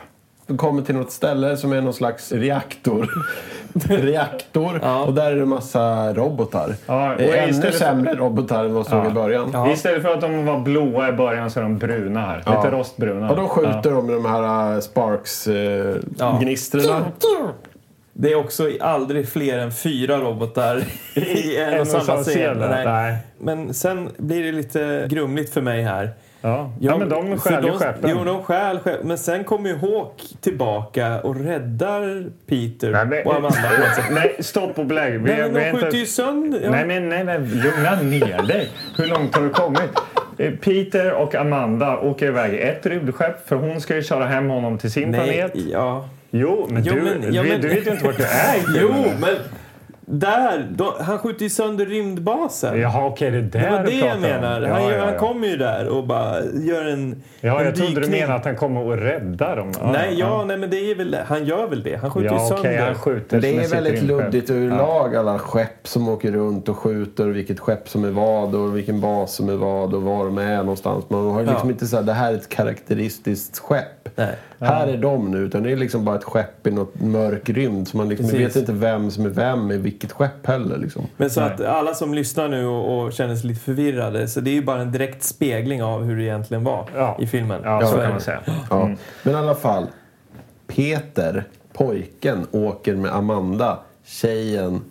Speaker 3: Vi kommer till något ställe som är någon slags reaktor. reaktor. Och där är det massa robotar.
Speaker 2: Ja, och
Speaker 3: Det är ännu
Speaker 2: istället för-
Speaker 3: sämre robotar än vad vi såg i början.
Speaker 2: Istället för att de var blåa i början så är de bruna här. Lite rostbruna.
Speaker 3: Och de skjuter
Speaker 2: Ja.
Speaker 3: de med de här eh,
Speaker 1: Ja.
Speaker 3: sparks-gnistrorna.
Speaker 1: Det är också aldrig fler än fyra robotar i en, och samma scen. Nej.
Speaker 2: Nej.
Speaker 1: Men sen blir det lite grumligt för mig här.
Speaker 2: Ja. ja, men de
Speaker 1: för
Speaker 2: stjäl ju skeppen.
Speaker 1: Jo, de stjäl skepp- Men sen kommer ju Hawk tillbaka och räddar Peter
Speaker 2: Nej, men-
Speaker 1: och Amanda. på något sätt.
Speaker 2: Nej, stopp och belägg. Vi,
Speaker 1: Nej, men
Speaker 2: vi
Speaker 1: de
Speaker 2: är inte-
Speaker 1: skjuter ju sönder... Ja.
Speaker 2: Nej, men nej, men lugna ner dig. Hur långt har du kommit? Eh, Peter och Amanda åker iväg i ett rymdskepp för hon ska ju köra hem honom till sin planet.
Speaker 1: ja.
Speaker 2: Jo, men,
Speaker 1: Jo,
Speaker 2: du,
Speaker 1: men- ja,
Speaker 2: du-
Speaker 1: men-
Speaker 2: du vet ju inte vart du är.
Speaker 1: Jo, men där! Då, han skjuter ju sönder rymdbasen.
Speaker 2: Jaha, okej, det är där
Speaker 1: Det var
Speaker 2: du
Speaker 1: det
Speaker 2: pratar
Speaker 1: jag
Speaker 2: om.
Speaker 1: menar.
Speaker 2: Ja,
Speaker 1: han, gör-
Speaker 2: ja,
Speaker 1: han
Speaker 2: ja.
Speaker 1: kommer ju där och bara gör en
Speaker 2: Ja,
Speaker 1: en
Speaker 2: jag trodde du
Speaker 1: dykning.
Speaker 2: menade att han kommer och rädda dem. Ja,
Speaker 1: Nej, ja, nej, men det är väl, han gör väl det. Han skjuter ju
Speaker 2: Ja, okej,
Speaker 1: sönder.
Speaker 2: han skjuter
Speaker 3: Det
Speaker 2: med
Speaker 3: är
Speaker 2: sitt
Speaker 3: väldigt
Speaker 2: rymdskepp.
Speaker 3: luddigt överlag alla skepp som åker runt och skjuter och vilket skepp som är vad och vilken bas som är vad och var de är någonstans. Man har ju liksom
Speaker 1: Ja.
Speaker 3: inte så här, det här är ett karaktäristiskt skepp.
Speaker 1: Nej.
Speaker 3: Här är de nu, utan det är liksom bara ett skepp i något mörk rymd. Så man liksom
Speaker 1: Precis.
Speaker 3: vet inte vem som är vem i vilket skepp heller. Liksom.
Speaker 1: Men så att alla som lyssnar nu och, och känner sig lite förvirrade, så det är ju bara en direkt spegling av hur det egentligen var
Speaker 2: Ja.
Speaker 1: i filmen.
Speaker 2: Ja, så
Speaker 1: är
Speaker 2: kan
Speaker 1: det.
Speaker 2: man säga.
Speaker 3: Ja.
Speaker 1: Mm.
Speaker 3: Men i alla fall, Peter, pojken, åker med Amanda, tjejen,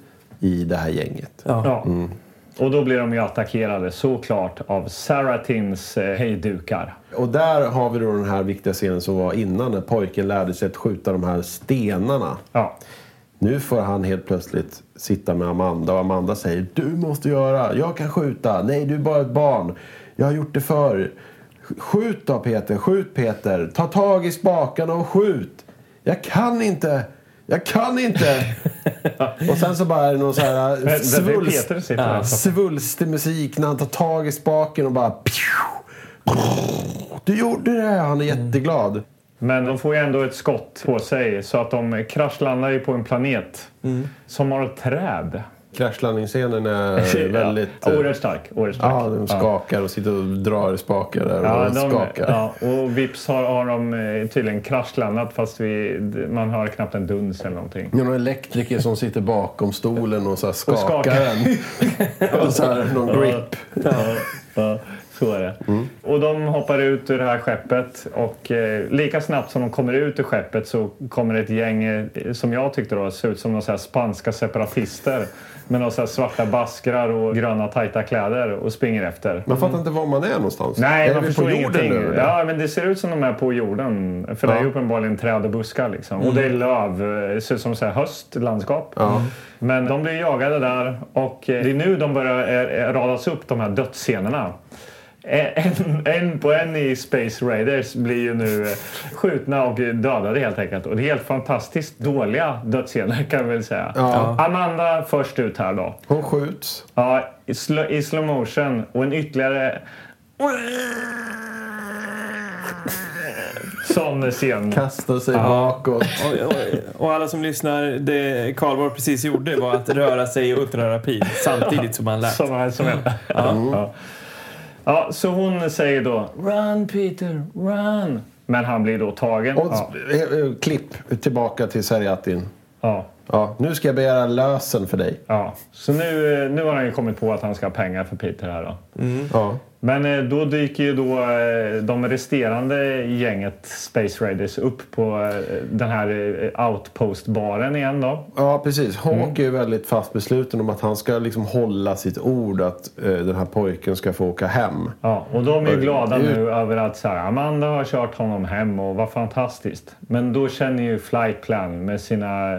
Speaker 3: i det här gänget.
Speaker 1: Ja.
Speaker 2: Ja.
Speaker 3: Mm.
Speaker 2: Och då blir de ju attackerade såklart av Saratins eh, hejdukar.
Speaker 3: Och där har vi då den här viktiga scenen som var innan när pojken lärde sig att skjuta de här stenarna.
Speaker 2: Ja.
Speaker 3: Nu får han helt plötsligt sitta med Amanda och Amanda säger Du måste göra, jag kan skjuta, nej du är bara ett barn, jag har gjort det förr. Sk- Skjut då Peter, skjut Peter, ta tag i spakarna och skjut. Jag kan inte, jag kan inte. och sen så bara är det någon så
Speaker 2: Det
Speaker 3: här
Speaker 2: det är
Speaker 3: svulst,
Speaker 2: Peter sitter där.
Speaker 3: svulstig musik när han tar tag i spaken och bara "Pju! Du gjorde det! Han är jätteglad.
Speaker 2: Mm. Men de får ju ändå ett skott på sig så att de kraschlandar ju på en planet
Speaker 1: Mm.
Speaker 2: som har ett träd.
Speaker 3: Kraschlandningsscenen är väldigt...
Speaker 2: ja.
Speaker 3: eh,
Speaker 2: Oerhört stark. Oerhört stark.
Speaker 3: Ja, de skakar och sitter och drar i spakar där och
Speaker 2: Ja, de,
Speaker 3: skakar.
Speaker 2: ja, och vips har, har de eh, tydligen kraschlandat fast vi, d- man hör knappt en duns eller någonting.
Speaker 3: Det är någon elektriker som sitter bakom stolen och så här skakar,
Speaker 2: skakar.
Speaker 3: den. och så här någon grip.
Speaker 2: Ja, ja, så är det. Och de hoppar ut ur det här skeppet och eh, lika snabbt som de kommer ut ur skeppet så kommer ett gäng eh, som jag tyckte då ser ut som några så här spanska separatister med några så här svarta baskrar och gröna tajta kläder och springer efter.
Speaker 3: Man fattar inte var man är någonstans.
Speaker 2: Nej,
Speaker 3: är
Speaker 2: man
Speaker 3: vi
Speaker 2: förstår
Speaker 3: på jorden
Speaker 2: ingenting.
Speaker 3: nu? eller?
Speaker 2: Ja, men det ser ut som de är på jorden. För det är
Speaker 3: Ja. Mm.
Speaker 2: ju uppenbarligen träd och buskar liksom. Och det är löv. eh, ser ut som så här höstlandskap. Men de blir jagade där och eh, det är nu de börjar eh, radas upp, de här dödsscenerna. Eh, En, en på en i Space Raiders blir ju nu eh, skjutna och dödade helt enkelt. Och det är helt fantastiskt dåliga dödsscener kan vi väl säga.
Speaker 3: Ja.
Speaker 2: Amanda först ut här då.
Speaker 3: Hon skjuts.
Speaker 2: Ja, i slow, i slow motion och en ytterligare... Sån scen.
Speaker 3: Kastar sig bakåt.
Speaker 1: Och, och, och alla som lyssnar, det Karlborg precis gjorde var att röra sig och uppröra pil samtidigt som han lät.
Speaker 2: Som här som hände. Ja. ja, så hon säger då Run Peter, run! Men han blir då tagen.
Speaker 3: Och
Speaker 2: Ja.
Speaker 3: eh, eh, klipp tillbaka till Serjatin.
Speaker 2: Ja.
Speaker 3: Ja, nu ska jag begära lösen för dig.
Speaker 2: Ja. Så nu, eh, nu har han ju kommit på att han ska ha pengar för Peter här då.
Speaker 3: Ja.
Speaker 2: Men eh, då dyker ju då eh, de resterande gänget Space Raiders upp på eh, den här eh, outpost-baren igen då.
Speaker 3: Ja, precis.
Speaker 1: Mm.
Speaker 3: Hawk är ju väldigt fast besluten om att han ska liksom hålla sitt ord att eh, den här pojken ska få åka hem.
Speaker 2: Ja, och de är ju glada
Speaker 3: det är ju-
Speaker 2: nu över att så här, Amanda har kört honom hem och vad fantastiskt. Men då känner ju Flight Plan med sina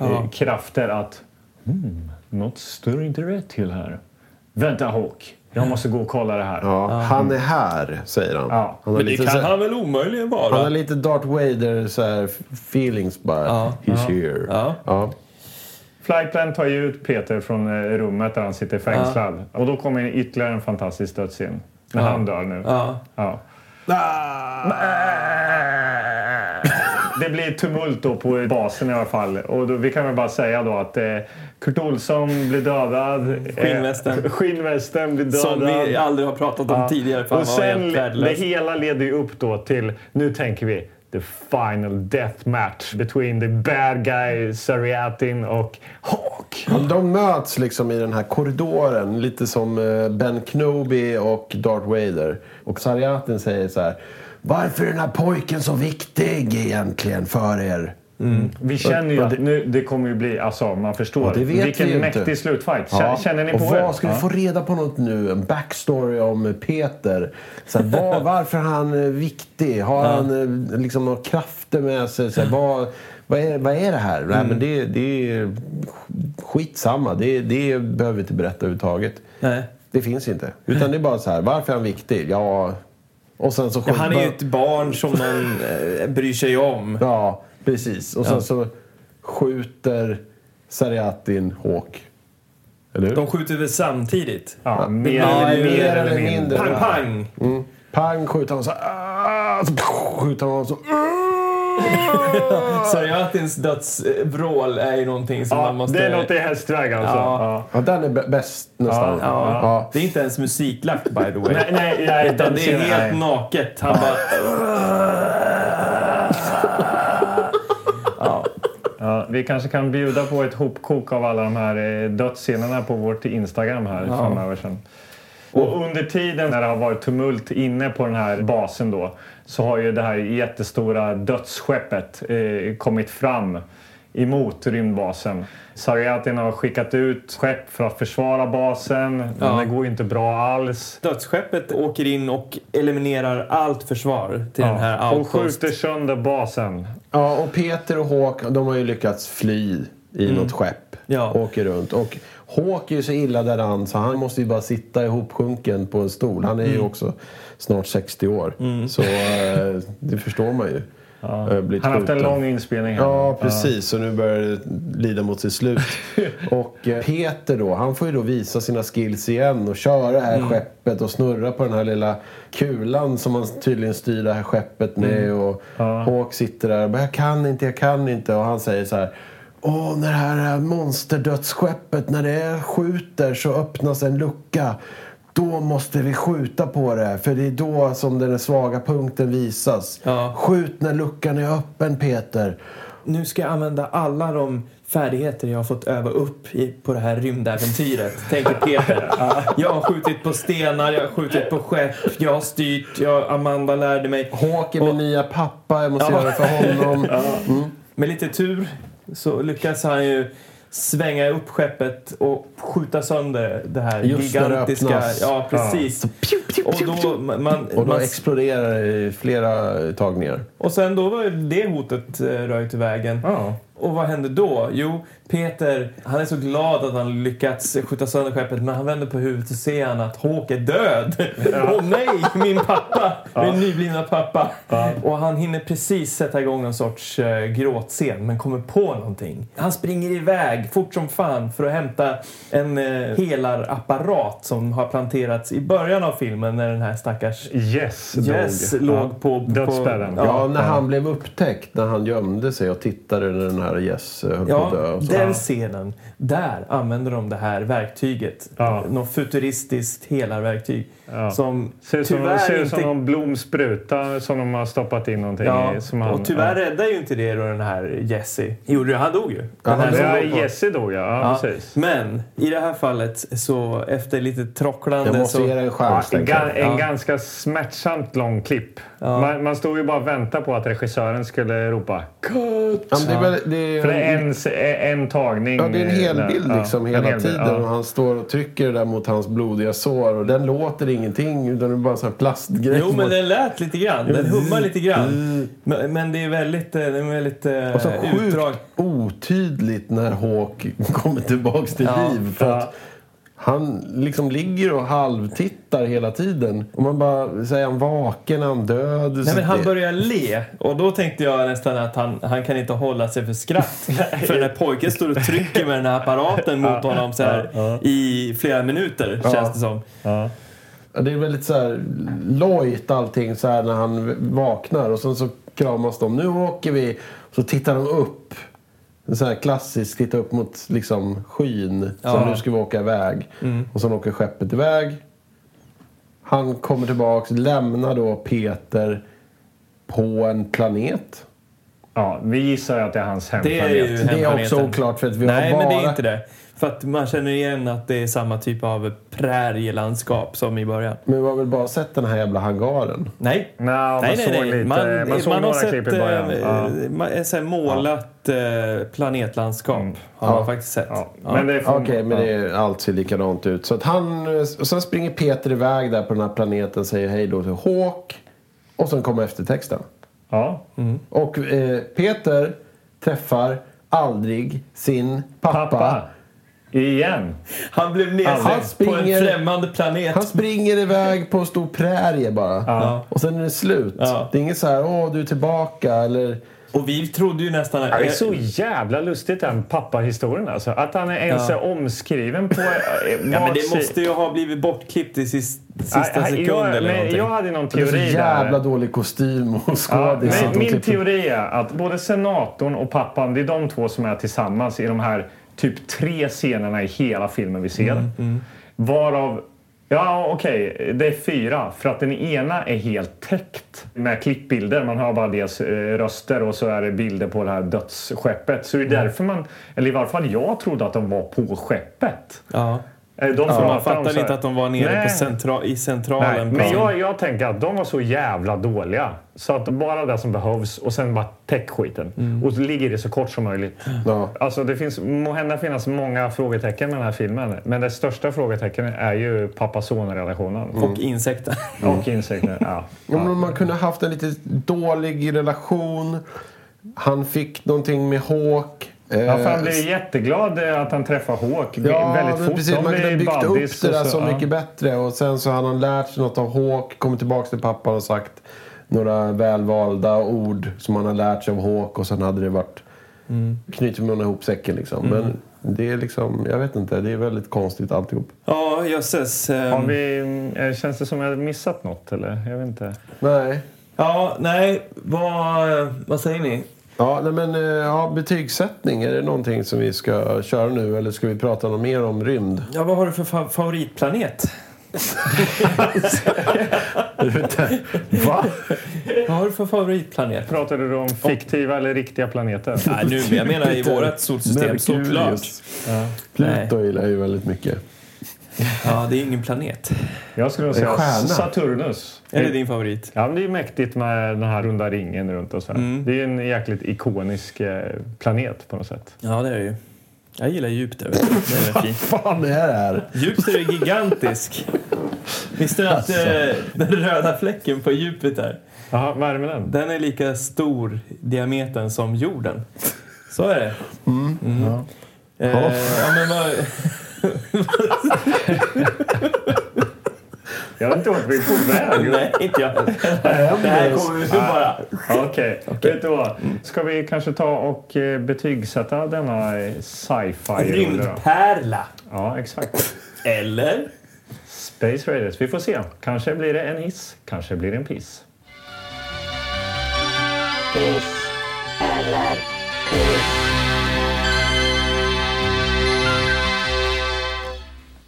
Speaker 2: eh, krafter att hmm, något stör inte rätt till här. Vänta Hawk, jag måste gå och kolla det här.
Speaker 3: Ja, Han är här, säger han.
Speaker 2: Ja.
Speaker 3: han har
Speaker 1: Men det
Speaker 3: lite, så
Speaker 1: kan
Speaker 3: här,
Speaker 1: han väl omöjligen vara?
Speaker 3: han har lite Darth Vader så här, feelings bara.
Speaker 1: Ja.
Speaker 3: He's here.
Speaker 1: Ja.
Speaker 3: Ja.
Speaker 2: Flightplan tar ju ut Peter från eh, rummet där han sitter fängslad. Och då kommer ytterligare en fantastisk dödsscen. När han dör nu.
Speaker 1: Ja.
Speaker 2: Ja. Det blir tumult då på basen i alla fall. Och då, vi kan väl bara säga då att eh, Kurt Olsson blir dödad.
Speaker 1: Skinnvästen.
Speaker 2: Eh, skinnvästen blir dödad.
Speaker 1: Som vi aldrig har pratat om
Speaker 2: Ja.
Speaker 1: tidigare för han
Speaker 2: Och
Speaker 1: var
Speaker 2: sen,
Speaker 1: helt
Speaker 2: det
Speaker 1: värdelös.
Speaker 2: hela leder ju upp då till, nu tänker vi, the final death match between the bad guy Sariatin och Hawk.
Speaker 3: Men De möts liksom i den här korridoren, lite som eh, Ben Knoby och Darth Vader. Och Sarjatin säger så här. Varför är den här pojken så viktig egentligen för er?
Speaker 2: Vi känner ju att nu, det kommer ju bli, alltså man förstår,
Speaker 3: det vet
Speaker 2: vilken
Speaker 3: vi ju inte.
Speaker 2: mäktig slutfight. Kä-
Speaker 3: Ja.
Speaker 2: Känner ni på
Speaker 3: och
Speaker 2: er?
Speaker 3: vad ska vi
Speaker 2: Ja.
Speaker 3: få reda på något nu? En backstory om Peter. Så här, vad, varför är han eh, viktig? Har han eh, liksom några krafter med sig? Så här, vad, vad, är, vad är det här? Nej,
Speaker 2: Mm.
Speaker 3: men det, det är skitsamma. Det, det behöver vi inte berätta överhuvudtaget.
Speaker 1: Nej.
Speaker 3: Det finns inte. Utan det är bara så här, varför är han viktig? Ja... Och sen så...
Speaker 1: Ja, han är ju ett barn som någon eh, bryr sig om.
Speaker 3: Ja, precis. Och sen så skjuter Seriatin Hawk. Eller hur?
Speaker 1: De skjuter väl samtidigt?
Speaker 2: Ja, mer,
Speaker 1: Ja,
Speaker 2: eller,
Speaker 1: ju-
Speaker 2: mer eller mindre.
Speaker 1: Pang, pang!
Speaker 3: Mm. Pang skjuter han så här. ah, Så skjuter han så.
Speaker 1: Sarjatins dödsvrål är ju någonting som man
Speaker 2: Ja,
Speaker 1: måste...
Speaker 2: det låter i hästväg alltså.
Speaker 1: Ja.
Speaker 2: Ja.
Speaker 3: Ja, den är bä- bäst nästan.
Speaker 2: Ja,
Speaker 1: ja.
Speaker 3: Ja.
Speaker 1: Det är inte ens musiklagt by the way.
Speaker 2: Nej, nej, nej,
Speaker 1: Utan
Speaker 2: den
Speaker 1: det är
Speaker 2: scenen-
Speaker 1: helt
Speaker 2: nej.
Speaker 1: naket. Han bara...
Speaker 2: Ja, vi kanske kan bjuda på ett hopkok av alla de här eh, dödsscenerna på vårt Instagram här framöver sen. Och under tiden när det har varit tumult inne på den här basen då så har ju det här jättestora dödsskeppet eh, kommit fram emot rymdbasen. Sarjatin har skickat ut skepp för att försvara basen, men det går ju inte bra alls.
Speaker 1: Dödsskeppet åker in och eliminerar allt försvar till den
Speaker 2: Ja,
Speaker 1: här
Speaker 2: och
Speaker 1: outpost.
Speaker 2: skjuter sönder basen.
Speaker 3: ja, och Peter och Hawk, de har ju lyckats fly i
Speaker 2: Mm.
Speaker 3: något skepp.
Speaker 1: Ja.
Speaker 3: Åker runt. Och Hawk är ju så illa däran så han måste ju bara sitta ihopsjunken på en stol. Han är
Speaker 2: Mm.
Speaker 3: ju också snart 60 år. Så eh, det förstår man ju. Eh, blivit
Speaker 2: Han har haft en
Speaker 3: skjuten.
Speaker 2: lång inspelning här.
Speaker 3: Ja, precis. Och nu börjar det lida mot sitt slut. och eh, Peter då, han får ju då visa sina skills igen och köra det här skeppet och snurra på den här lilla kulan som han tydligen styr det här skeppet med. Och Hawk sitter där och bara, jag kan inte, jag kan inte. Och han säger så här. Åh, när det här eh, monsterdödsskeppet, när det skjuter så öppnas en lucka. Då måste vi skjuta på det, för det är då som den svaga punkten visas.
Speaker 1: Ja.
Speaker 3: Skjut när luckan är öppen, Peter.
Speaker 1: Nu ska jag använda alla de färdigheter jag har fått öva upp i, på det här rymdäventyret, tänker Peter. Jag har skjutit på stenar, jag har skjutit på skepp, jag har styrt, jag, Amanda lärde mig.
Speaker 3: Hawk är min nya pappa, jag måste
Speaker 1: Ja.
Speaker 3: göra det för honom.
Speaker 1: Med lite tur så lyckas han ju svänga upp skeppet och skjuta sönder det här
Speaker 3: Just när det
Speaker 1: gigantiska...
Speaker 3: öppnas.
Speaker 1: Ja, precis. Och då, man,
Speaker 3: Och då
Speaker 1: man,
Speaker 3: exploderar det i flera tagningar.
Speaker 1: och sen då var ju det hotet eh, röjt ur vägen.
Speaker 2: Ja.
Speaker 1: Och vad hände då? Jo, Peter han är så glad att han lyckats skjuta sönder skeppet men han vänder på huvudet och ser han att Håk är död. Åh nej, min pappa! Min nyblivna pappa. Och han hinner precis sätta igång en sorts eh, gråtscen men kommer på någonting. Han springer iväg fort som fan för att hämta en eh, helarapparat som har planterats i början av filmen när den här stackars
Speaker 2: Yes,
Speaker 1: Yes
Speaker 2: dog.
Speaker 1: låg
Speaker 2: Ja.
Speaker 1: på... på
Speaker 2: Dödsspärren.
Speaker 1: Ja.
Speaker 3: Ja, när han blev upptäckt, när han gömde sig och tittade när den här Jess eh, höll på att dö.
Speaker 1: Ja,
Speaker 3: och så.
Speaker 1: den scenen. Där använder de det här verktyget.
Speaker 2: Ja.
Speaker 1: Något futuristiskt helarverktyg.
Speaker 2: Ja.
Speaker 1: Som
Speaker 2: Ser ut som,
Speaker 1: tyvärr
Speaker 2: ser ut
Speaker 1: inte...
Speaker 2: som någon blomspruta som de har stoppat in någonting
Speaker 1: Ja,
Speaker 2: i. Som han,
Speaker 1: och tyvärr
Speaker 2: ja.
Speaker 1: räddade ju inte det då den här Jesse. Gjorde det? Han dog ju. Den här
Speaker 3: han
Speaker 1: som
Speaker 2: Ja,
Speaker 1: låg på-
Speaker 2: Jesse då ja, ja,
Speaker 1: Ja,
Speaker 2: precis.
Speaker 1: Men i det här fallet så efter lite trocklande
Speaker 3: Jag måste
Speaker 1: så...
Speaker 3: ge dig en
Speaker 2: Ja,
Speaker 3: chans,
Speaker 2: en
Speaker 3: tänker
Speaker 2: ga-
Speaker 3: jag.
Speaker 2: en ganska smärtsamt lång klipp. Man, man stod ju bara och väntade på att regissören skulle ropa cut.
Speaker 3: Ja, men det, är väl, det, är,
Speaker 2: För det är en, en tagning.
Speaker 3: ja, det är en
Speaker 2: där.
Speaker 3: hel bild
Speaker 2: Ja,
Speaker 3: liksom
Speaker 2: en
Speaker 3: hela
Speaker 2: hel bild,
Speaker 3: tiden.
Speaker 2: ja.
Speaker 3: Och han står och trycker det där mot hans blodiga sår och den låter ingenting utan det är bara en sån här plastgrej.
Speaker 1: Jo, men
Speaker 3: mot-
Speaker 1: den lät lite grann. Den hummar lite grann. Men, men det är väldigt, eh, det är väldigt eh,
Speaker 3: Mm. Och så sjukt
Speaker 1: utdrag.
Speaker 3: otydligt när Hawk kommer tillbaks till
Speaker 1: Ja,
Speaker 3: liv. För
Speaker 2: ja.
Speaker 3: att han liksom ligger och halvtittar hela tiden. Och man bara, säger han vaken, är han död?
Speaker 1: Nej, men han börjar le och då tänkte jag nästan att han, han kan inte hålla sig för skratt. för när pojken står och trycker med den här apparaten mot honom så här, i flera minuter känns det som.
Speaker 3: Ja, Det är väldigt så här lojt allting så här när han vaknar. Och sen så kramas de. Nu åker vi. Så tittar de upp. En så här klassisk, titta upp mot liksom skyn.
Speaker 1: Ja.
Speaker 3: Som nu ska vi åka iväg. Och sen åker skeppet iväg. Han kommer tillbaks, lämnar då Peter på en planet.
Speaker 2: Ja, vi gissar ju att det är hans
Speaker 1: Det är ju
Speaker 2: hemplanet.
Speaker 3: Det är
Speaker 1: hemplaneten.
Speaker 3: också oklart för att vi
Speaker 1: Nej,
Speaker 3: har bara...
Speaker 1: men det är inte det. För att man känner igen att det är samma typ av prärielandskap som i början.
Speaker 3: Men vi har väl bara sett den här jävla hangaren.
Speaker 1: Nej.
Speaker 2: Nej, man
Speaker 1: nej,
Speaker 2: såg lite- man såg några klipp i början.
Speaker 1: eh,
Speaker 2: Ja.
Speaker 1: man- eh, så här målat eh, planetlandskap. Har man faktiskt sett.
Speaker 2: Ja.
Speaker 1: Ja.
Speaker 2: Men det är
Speaker 3: Okej,
Speaker 2: från-
Speaker 3: men det är, allt ser likadant ut. Så att han, och sen springer Peter iväg där på den här planeten säger hej då till Hawk. Och sen kommer eftertexten.
Speaker 2: ja.
Speaker 3: Och eh, Peter träffar aldrig sin pappa.
Speaker 2: Pappa. Igen.
Speaker 1: Han blev
Speaker 2: Han
Speaker 1: nedsatt på en
Speaker 3: springer-
Speaker 1: främmande planet.
Speaker 3: Han springer iväg på en stor prärie bara.
Speaker 2: Ja.
Speaker 3: Och sen är det slut.
Speaker 1: Ja.
Speaker 3: Det är inget så här, åh du är tillbaka eller...
Speaker 1: Och vi trodde ju nästan...
Speaker 2: Det är så jävla lustigt den pappahistorien alltså. Att han är ens
Speaker 1: Ja.
Speaker 2: är omskriven på... eh,
Speaker 1: Ja, men det måste ju ha blivit bortklippt i sist, sista sekund
Speaker 2: jag,
Speaker 1: eller
Speaker 2: men
Speaker 1: någonting.
Speaker 2: jag hade någon
Speaker 3: Det är så
Speaker 2: teori
Speaker 3: jävla
Speaker 2: där.
Speaker 3: dålig kostym och skådis.
Speaker 2: Ja,
Speaker 3: att de
Speaker 2: men min
Speaker 3: klipper-
Speaker 2: teori är att både senatorn och pappan, det är de två som är tillsammans i de här typ tre scenerna i hela filmen vi ser. Varav, ja okej, det är fyra. För att den ena är helt täckt med klippbilder. Man har bara dels eh, röster och så är det bilder på det här dödsskeppet. Så det är därför man, eller i varje fall jag trodde att de var på skeppet.
Speaker 1: Ja.
Speaker 2: Eh, De som
Speaker 1: Man fattade inte att de var nere
Speaker 2: Nej.
Speaker 1: på centra, i
Speaker 2: Nej,
Speaker 1: centralen. på
Speaker 2: men jag, jag tänker att de var så jävla dåliga. Så att bara det som behövs och sen bara täck skiten. Och så ligger det så kort som möjligt.
Speaker 3: Ja.
Speaker 2: Alltså det finns, må hända finnas många frågetecken med den här filmen. Men det största frågetecknet är ju pappa-son-relationen.
Speaker 3: Mm.
Speaker 1: och insekter.
Speaker 2: Och insikten. Ja.
Speaker 3: Om man kunde haft en lite dålig relation. Han fick någonting med Hawk. Eh,
Speaker 2: Ja, för han blev ju jätteglad eh, att han träffar Hawk
Speaker 3: Ja,
Speaker 2: väldigt
Speaker 3: men
Speaker 2: fort.
Speaker 3: precis.
Speaker 2: De
Speaker 3: Man kunde ha
Speaker 2: blir
Speaker 3: byggt upp
Speaker 2: buddies
Speaker 3: det
Speaker 2: och
Speaker 3: där så
Speaker 2: ja.
Speaker 3: mycket bättre. Och sen så hade han lärt sig något av Hawk, kommit tillbaka till pappan och sagt några välvalda ord som han har lärt sig av Hawk och sen hade det varit...
Speaker 2: Mm.
Speaker 3: Knyter man ihop säcken liksom. Men det är liksom, jag vet inte, det är väldigt konstigt alltihop.
Speaker 1: Ja, jösses. ehm,
Speaker 2: Har vi, eh, känns det som jag missat något eller? Jag vet inte.
Speaker 3: Nej.
Speaker 1: Ja, nej. Vad, vad säger ni?
Speaker 3: Ja, nej men eh, ja, betygssättning, är det någonting som vi ska köra nu eller ska vi prata något mer om rymd?
Speaker 1: Ja, vad har du för fa- favoritplanet?
Speaker 2: Va?
Speaker 1: Vad har du för favoritplanet?
Speaker 2: Pratar du om fiktiva eller riktiga planeter?
Speaker 1: Nej, nu, jag menar i vårt solsystem,
Speaker 3: Merkurius.
Speaker 1: såklart. Nej.
Speaker 3: Pluto gillar jag ju väldigt mycket.
Speaker 1: Ja, det är ingen planet.
Speaker 2: Jag skulle nog säga
Speaker 3: stjärna.
Speaker 2: Saturnus.
Speaker 1: Är det din favorit?
Speaker 2: Ja, men det är ju mäktigt med den här runda ringen runt och så. här.
Speaker 1: Mm.
Speaker 2: Det är ju en jäkligt ikonisk eh, planet på något sätt.
Speaker 1: Ja, det är det ju. Jag gillar Jupiter. vet du. Den är fin.
Speaker 3: fan är det här?
Speaker 1: Jupiter är gigantisk. Visste du att eh, den röda fläcken på Jupiter
Speaker 2: Jaha, vad är det med den?
Speaker 1: den är lika stor i diametern som jorden? Så är det. Mm. Eh, ja, men vad,
Speaker 2: Jag vet inte vart vi är på väg.
Speaker 1: nej, inte jag. Det här kommer vi bara...
Speaker 2: Ja, Okej, vet du vad? Ska vi kanske ta och eh, betygsätta denna eh, sci-fi? rulle då?
Speaker 1: Rymdpärla.
Speaker 2: Ja, exakt.
Speaker 1: Eller?
Speaker 2: Space Raiders. Vi får se. Kanske blir det en hiss, kanske blir det en piss.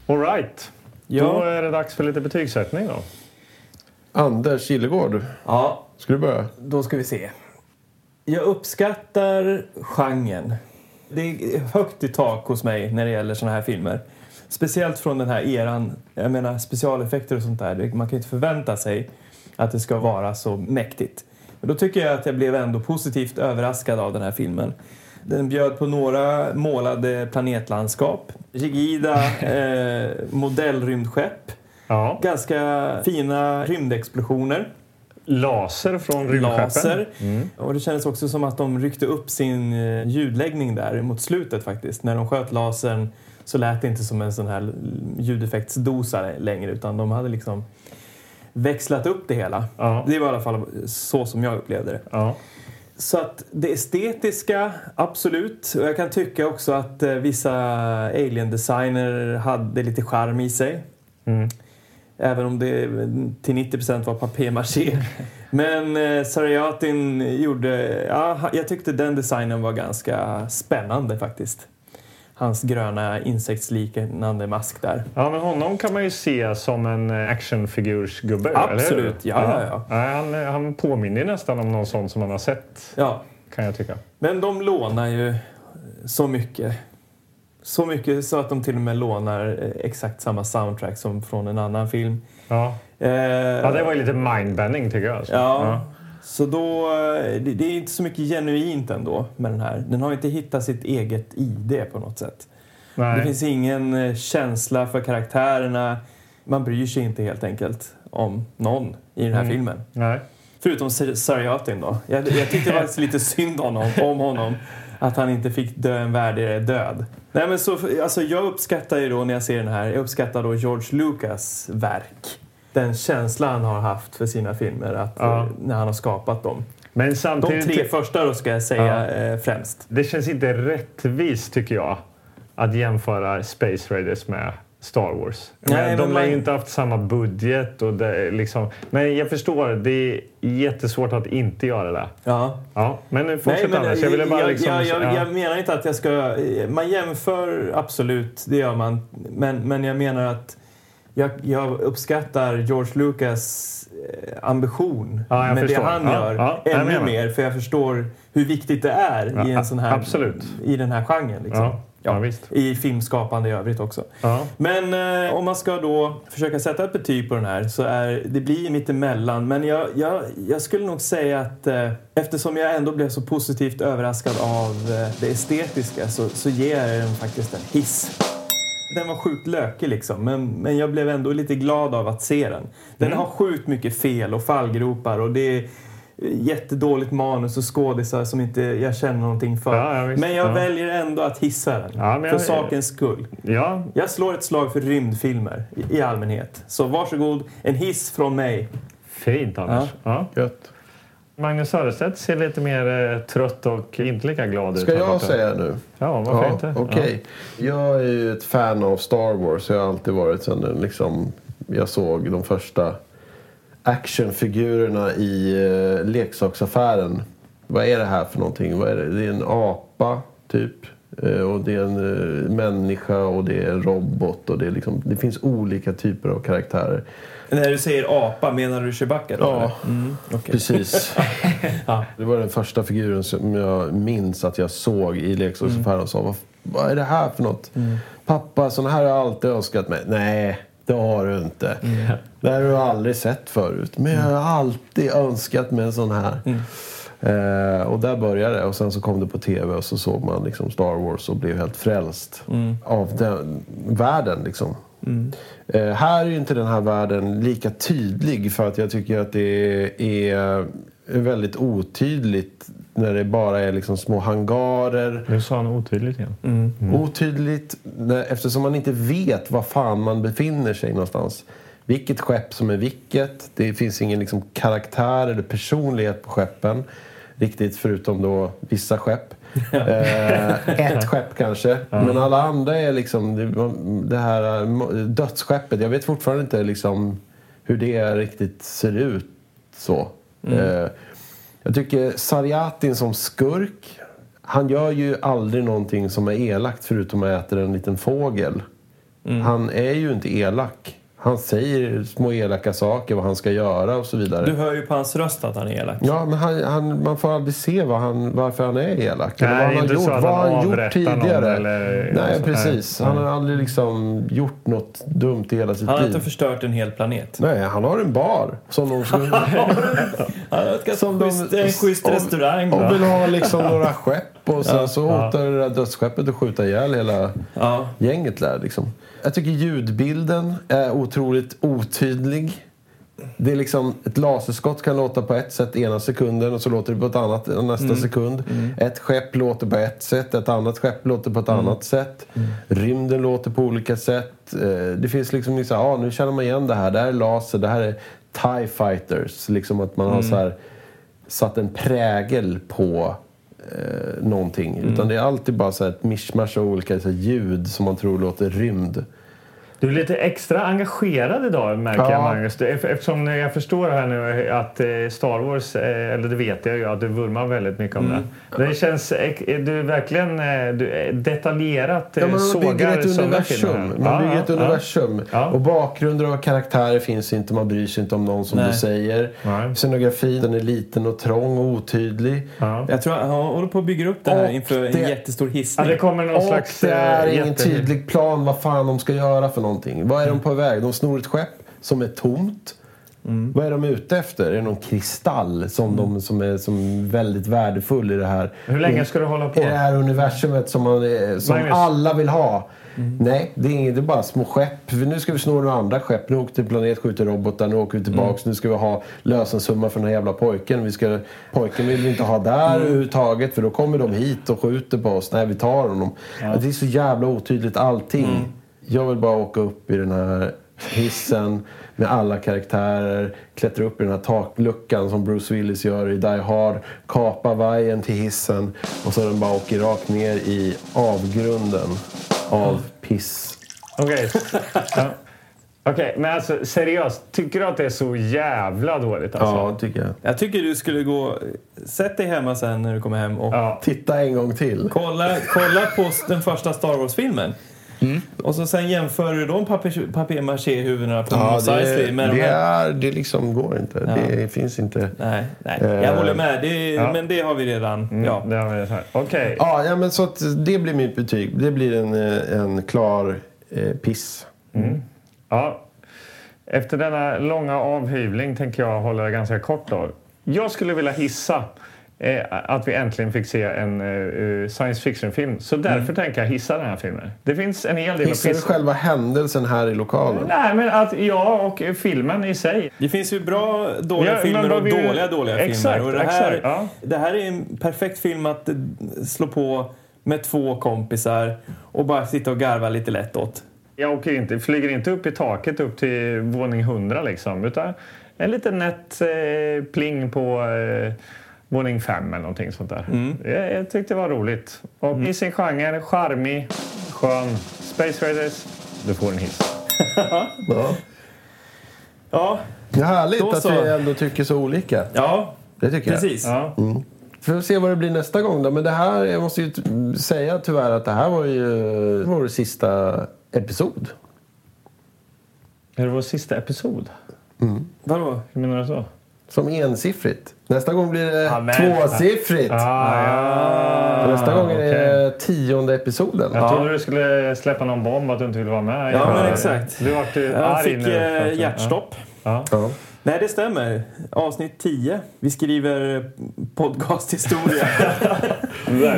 Speaker 2: All right. Då
Speaker 1: Ja.
Speaker 2: är det dags för lite betygssättning då.
Speaker 3: Anders Killegård,
Speaker 1: ja,
Speaker 3: ska du börja?
Speaker 1: då ska vi se. Jag uppskattar genren. Det är högt i tak hos mig när det gäller såna här filmer. Speciellt från den här eran. Jag menar specialeffekter och sånt där. Det- Man kan ju inte förvänta sig att det ska vara så mäktigt. Men då tycker jag att jag blev ändå positivt överraskad av den här filmen. Den bjöd på några målade planetlandskap, rigida eh, modellrymdskepp,
Speaker 2: Ja.
Speaker 1: ganska fina rymdexplosioner.
Speaker 2: Laser från rymdskeppen.
Speaker 1: laser. Och det kändes också som att de ryckte upp sin eh, ljudläggning där mot slutet faktiskt. När de sköt lasern så lät det inte som en sån här ljudeffektsdosa längre utan de hade liksom växlat upp det hela.
Speaker 2: Ja.
Speaker 1: Det var i alla fall så som jag upplevde det.
Speaker 2: Ja.
Speaker 1: Så att det estetiska, absolut. Och jag kan tycka också att eh, vissa alien-designer hade lite charm i sig.
Speaker 2: Mm.
Speaker 1: Även om det till 90 var papier-maché. Men eh, Sariatin gjorde... Ja, ha- jag tyckte den designen var ganska spännande faktiskt. Hans gröna insektsliknande mask där.
Speaker 2: ja, men honom kan man ju se som en eh, actionfigursgubbe. eller hur?
Speaker 1: Absolut, ja, ja, ja.
Speaker 2: Nej, han, eh, han påminner ju nästan om någon sån som man har sett,
Speaker 1: Ja,
Speaker 2: kan jag tycka.
Speaker 1: Men de lånar ju så mycket. Så mycket så att de till och med lånar eh, exakt samma soundtrack som från en annan film.
Speaker 2: Ja.
Speaker 1: Eh,
Speaker 2: Ja, det var ju lite mindbending tycker jag. Alltså.
Speaker 1: ja. Så då, eh, det, det är inte så mycket genuint ändå med den här. Den har inte hittat sitt eget ID på något sätt. Det
Speaker 2: Nej.
Speaker 1: finns ingen eh, känsla för karaktärerna. Man bryr sig inte helt enkelt om någon i den
Speaker 2: Mm.
Speaker 1: här filmen.
Speaker 2: Nej.
Speaker 1: Förutom Sar- Sarjatin då. Jag, jag tyckte faktiskt lite synd om honom, om honom. Att han inte fick dö en värdigare död. Nej, men så, alltså, jag uppskattar ju då när jag ser den här, jag uppskattar då George Lucas verk. Den känslan han har haft för sina filmer att,
Speaker 2: Ja.
Speaker 1: eh, när han har skapat dem.
Speaker 2: Men
Speaker 1: De
Speaker 2: samtidigt...
Speaker 1: tre första då ska jag säga eh, främst.
Speaker 2: Det känns inte rättvist, tycker jag, att jämföra Space Raiders med Star Wars. Jag
Speaker 1: Nej,
Speaker 2: menar,
Speaker 1: men
Speaker 2: de har ju
Speaker 1: man-
Speaker 2: inte haft samma budget. Och det, är liksom... Men jag förstår, det är jättesvårt att inte göra det.
Speaker 1: Ja.
Speaker 2: Ja, men nu fortsätt annars. Jag ville bara
Speaker 1: jag,
Speaker 2: liksom...
Speaker 1: jag, jag,
Speaker 2: ja.
Speaker 1: jag menar inte att jag ska... Man jämför absolut, det gör man. Men, men jag menar att jag, jag uppskattar George Lucas eh, ambition
Speaker 2: Ja, jag
Speaker 1: med
Speaker 2: förstår.
Speaker 1: det han
Speaker 2: Ja,
Speaker 1: gör
Speaker 2: ja, jag
Speaker 1: ännu
Speaker 2: menar.
Speaker 1: mer. För jag förstår hur viktigt det är i
Speaker 2: a-
Speaker 1: en sån här...
Speaker 2: absolut.
Speaker 1: I den här genren. Liksom.
Speaker 2: Ja, ja, visst.
Speaker 1: I filmskapande i övrigt också.
Speaker 2: Ja.
Speaker 1: Men eh, om man ska då försöka sätta ett betyg på den här så är det blir mittemellan. Men jag, jag, jag skulle nog säga att eh, eftersom jag ändå blev så positivt överraskad av eh, det estetiska så, så ger jag den faktiskt en hiss. Den var sjukt lökig liksom, men, men jag blev ändå lite glad av att se den. Den
Speaker 2: Mm.
Speaker 1: har sjukt mycket fel och fallgropar och det är jättedåligt manus och skådisar som inte jag känner någonting för.
Speaker 2: Ja, ja, visst.
Speaker 1: men jag
Speaker 2: Ja.
Speaker 1: väljer ändå att hissa den,
Speaker 2: Ja, men
Speaker 1: för
Speaker 2: jag-
Speaker 1: sakens skull.
Speaker 2: ja,
Speaker 1: Jag slår ett slag för rymdfilmer i- i allmänhet. Så varsågod, en hiss från mig.
Speaker 2: fint Anders. Ja.
Speaker 3: Gött.
Speaker 2: Magnus Söderstedt ser lite mer eh, trött och inte lika glad ut.
Speaker 3: Ska
Speaker 2: här borta.
Speaker 3: jag säga nu?
Speaker 2: Ja, varför
Speaker 3: Ja,
Speaker 2: inte?
Speaker 3: okej. Jag är ju ett fan av Star Wars. Jag har alltid varit sen den liksom, jag såg de första actionfigurerna i eh, leksaksaffären. Vad är det här för någonting? Vad är det? det är en apa, typ. Eh, och det är en eh, människa och det är en robot. Och det, är liksom, det finns olika typer av karaktärer. Mm.
Speaker 1: När du säger apa, menar du Chewbacca då? eller?
Speaker 3: Precis. Det var den första figuren som jag minns att jag såg i leksaksaffären och sa vad, vad är det här för något? Pappa, sån här har jag alltid önskat mig. Nej, det har du inte. Det här har du aldrig sett förut. Men jag har alltid önskat mig en sån här. Eh, och där började det. Och sen så kom det på tv och så såg man liksom Star Wars och blev helt frälst av den världen. Liksom. Eh, här är ju inte den här världen lika tydlig för att jag tycker att det är väldigt otydligt när det bara är liksom små hangarer.
Speaker 2: Nu sa han otydligt igen.
Speaker 3: Otydligt när- eftersom man inte vet var fan man befinner sig någonstans. Vilket skepp som är vilket. Det finns ingen liksom karaktär eller personlighet på skeppen. Riktigt, förutom då vissa skepp. eh, ett skepp kanske. Men alla andra är liksom det- det här eh, dödsskeppet. Jag vet fortfarande inte liksom hur det riktigt ser ut. så. Eh, jag tycker Sarjatin som skurk, han gör ju aldrig någonting som är elakt förutom att äta en liten fågel.
Speaker 2: Mm.
Speaker 3: Han är ju inte elak. Han säger små elaka saker, vad han ska göra och så vidare.
Speaker 1: Du hör ju på hans röst att han är elak.
Speaker 3: Ja, men han, han, man får aldrig se vad han, varför han är elak.
Speaker 2: Nej,
Speaker 3: vad han
Speaker 2: inte så att
Speaker 3: vad
Speaker 2: han
Speaker 3: han har gjort
Speaker 2: avrättar någon
Speaker 3: tidigare.
Speaker 2: eller-
Speaker 3: Nej,
Speaker 2: så-
Speaker 3: precis.
Speaker 2: nej. Mm.
Speaker 3: Han har aldrig liksom gjort något dumt i hela sitt
Speaker 1: Han har
Speaker 3: liv.
Speaker 1: inte förstört en hel planet.
Speaker 3: Nej, han har en bar. Som de
Speaker 1: Han har ett ganska
Speaker 3: Som de-
Speaker 1: schysst, en schysst
Speaker 3: och-
Speaker 1: restaurang. va?
Speaker 3: och vill ha liksom några skepp och sen så hotar det där dödsskeppet att skjuta ihjäl hela
Speaker 1: Ja.
Speaker 3: gänget där liksom. Jag tycker ljudbilden är otroligt otydlig. Det är liksom, ett laserskott kan låta på ett sätt ena sekunden och så låter det på ett annat nästa sekund. Ett skepp låter på ett sätt, ett annat skepp låter på ett annat sätt. Rymden låter på olika sätt. Eh, Det finns liksom, liksom ah, nu känner man igen det här. Det här är laser, det här är TIE fighters. Liksom att man har så här satt en prägel på eh, någonting. Utan det är alltid bara så här ett mischmasch av olika så här, ljud som man tror låter rymd.
Speaker 2: Du är lite extra engagerad idag märker jag
Speaker 3: Ja.
Speaker 2: Magnus. Det- ef- Eftersom jag förstår här nu att eh, Star Wars, eh, eller det vet jag ju att du vurmar väldigt mycket om
Speaker 3: Mm.
Speaker 2: det. Det känns, ek- är du är verkligen eh, du är detaljerat eh,
Speaker 3: Ja, man bygger
Speaker 2: sågar
Speaker 3: ett
Speaker 2: sådana filmer här.
Speaker 3: universum. Man
Speaker 2: Ja,
Speaker 3: bygger
Speaker 2: ja,
Speaker 3: ett
Speaker 2: ja.
Speaker 3: universum.
Speaker 2: Ja.
Speaker 3: Och bakgrunder och karaktärer finns inte. Man bryr sig inte om någon som
Speaker 1: Nej.
Speaker 3: du säger.
Speaker 2: Nej.
Speaker 3: Scenografin den är liten och trång och otydlig.
Speaker 2: Ja.
Speaker 1: Jag tror han håller på att bygga upp det här
Speaker 3: Och
Speaker 1: inför en
Speaker 3: det-
Speaker 1: jättestor
Speaker 2: Ja,
Speaker 1: hissning.
Speaker 2: det kommer någon
Speaker 3: Och
Speaker 2: slags...
Speaker 3: det är
Speaker 2: eh,
Speaker 3: ingen
Speaker 2: jätte- Mm.
Speaker 3: tydlig plan vad fan de ska göra för någonting. Vad är de på väg? De snor ett skepp som är tomt.
Speaker 2: Mm.
Speaker 3: Vad är de ute efter? Är det någon kristall som, de, som är som väldigt värdefull i det här?
Speaker 2: Hur länge ska du hålla på?
Speaker 3: I det här universumet som, man, är- som
Speaker 2: Magnus.
Speaker 3: alla vill ha.
Speaker 2: Mm.
Speaker 3: Nej, det är, inget, det är bara små skepp. För Nu ska vi sno några andra skepp. Nu åker vi till planet, skjuter robotar, nu åker
Speaker 2: Mm.
Speaker 3: vi tillbaks. Nu ska vi ha lösensumma för den här jävla pojken. Vi ska, pojken vill vi inte ha där
Speaker 2: Mm.
Speaker 3: överhuvudtaget för då kommer de hit och skjuter på oss. Nej, vi tar honom. Det är så jävla otydligt allting.
Speaker 2: Mm.
Speaker 3: Jag vill bara åka upp i den här hissen med alla karaktärer, klättra upp i den här takluckan som Bruce Willis gör i Die Hard, kapa vajern till hissen och så den bara åker rakt ner i avgrunden av piss.
Speaker 2: Okej. ja. Okej, men alltså seriöst. Tycker du att det är så jävla dåligt alltså?
Speaker 3: Ja, tycker jag.
Speaker 1: Jag tycker du skulle gå... Sätt dig hemma sen när du kommer hem och
Speaker 2: Ja.
Speaker 3: Titta en gång till.
Speaker 1: kolla, kolla på den första Star Wars-filmen.
Speaker 2: Mm.
Speaker 1: Och så sen jämför du de papier- papier-maché-huvudena på Mos Eisley med de
Speaker 3: det,
Speaker 1: här...
Speaker 3: är, det liksom går inte. Det finns inte.
Speaker 1: Nej, nej, jag
Speaker 3: Eh,
Speaker 1: håller med. Det, Men det har vi redan. Ja.
Speaker 2: Det har vi så här. Okej.
Speaker 3: Ja, ja, men så att det blir mitt betyg. Det blir en, eh, en klar eh, piss.
Speaker 2: Ja. Efter denna långa avhyvling tänker jag hålla det ganska kort då. Jag skulle vilja hissa eh, att vi äntligen fick se en eh, science fiction-film. Så därför tänker jag hissa den här filmen. Det finns en hel del
Speaker 3: Pissar
Speaker 2: att
Speaker 3: Mm. du
Speaker 2: hissa.
Speaker 3: själva händelsen här i lokalen?
Speaker 2: Nej, men att jag och eh, filmen i sig.
Speaker 1: Det finns ju bra dåliga
Speaker 2: Ja, men
Speaker 1: filmer
Speaker 2: vad
Speaker 1: och
Speaker 2: vi-
Speaker 1: dåliga dåliga
Speaker 2: Exakt,
Speaker 1: filmer. Och det, här,
Speaker 2: exakt, ja.
Speaker 1: det här är en perfekt film att eh, slå på med två kompisar och bara sitta och garva lite lätt åt.
Speaker 2: Jag åker inte, flyger inte upp i taket upp till våning 100 liksom. Utan en liten nätt eh, pling på eh, våning 5 eller någonting sånt där.
Speaker 1: Mm.
Speaker 2: Jag, jag tyckte det var roligt. Och i sin genre, charmig, skön. Space Raiders, du får en hiss.
Speaker 3: Ja.
Speaker 1: Ja,
Speaker 3: Det är härligt
Speaker 1: Då
Speaker 3: att
Speaker 1: så.
Speaker 3: vi ändå tycker så olika.
Speaker 1: ja
Speaker 3: Det tycker jag.
Speaker 1: precis.
Speaker 2: Ja.
Speaker 3: Får vi se vad det blir nästa gång då. Men det här, jag måste ju t- säga tyvärr att det här var ju eh, vår sista episod.
Speaker 2: Är det vår sista episod?
Speaker 1: Vadå?
Speaker 2: Hur menar du så?
Speaker 3: Som ensiffrigt. Nästa gång blir det
Speaker 1: Amen.
Speaker 3: tvåsiffrigt.
Speaker 2: Ah, ja.
Speaker 3: Nästa gång är
Speaker 2: okej.
Speaker 3: det tionde episoden.
Speaker 2: Jag trodde du skulle släppa någon bomb att du inte ville vara med.
Speaker 1: Ja,
Speaker 2: Jag-
Speaker 1: men exakt.
Speaker 2: Du vart ju
Speaker 1: Jag
Speaker 2: arg
Speaker 1: fick
Speaker 2: nu. för att-
Speaker 1: eh, hjärtstopp.
Speaker 2: Ja.
Speaker 3: Ja.
Speaker 1: Nej, det stämmer. Avsnitt 10. Vi skriver podcasthistoria.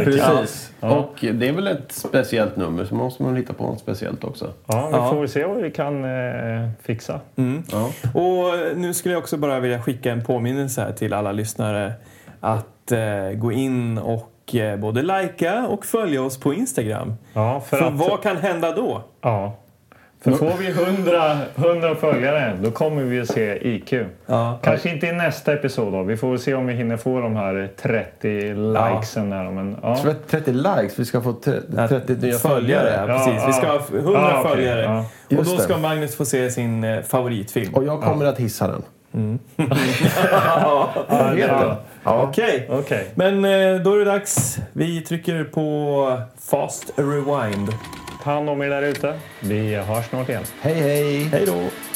Speaker 3: Precis.
Speaker 5: Och det är väl ett speciellt nummer så måste man hitta på något speciellt också.
Speaker 2: Ja, vi får väl se vad vi kan eh, fixa.
Speaker 1: Och nu skulle jag också bara vilja skicka en påminnelse här till alla lyssnare att eh, gå in och eh, både likea och följa oss på Instagram.
Speaker 2: Ja, för,
Speaker 1: För
Speaker 2: att,
Speaker 1: vad kan hända då?
Speaker 2: ja. För får vi 100, 100 följare, då kommer vi att se IQ.
Speaker 1: Ja.
Speaker 2: Kanske inte i nästa episod då. Vi får väl se om vi hinner få de här 30 likesen. Här, men, ja.
Speaker 3: Så vi har 30 likes, vi ska få tre- 30
Speaker 1: Följare,
Speaker 3: nya följare.
Speaker 1: ja, precis. Vi ska ha f- 100
Speaker 2: Ja, okej,
Speaker 1: följare.
Speaker 2: ja.
Speaker 1: Och
Speaker 3: Just
Speaker 1: då
Speaker 3: det.
Speaker 1: ska Magnus få se sin eh, favoritfilm.
Speaker 3: Och jag kommer att hissa den.
Speaker 2: Ja, det är bra.
Speaker 1: Okej,
Speaker 2: Okej.
Speaker 1: men eh, då är det dags. Vi trycker på fast rewind.
Speaker 2: Ta hand om er där ute. Vi hörs snart igen.
Speaker 3: Hej hej!
Speaker 1: Hej då!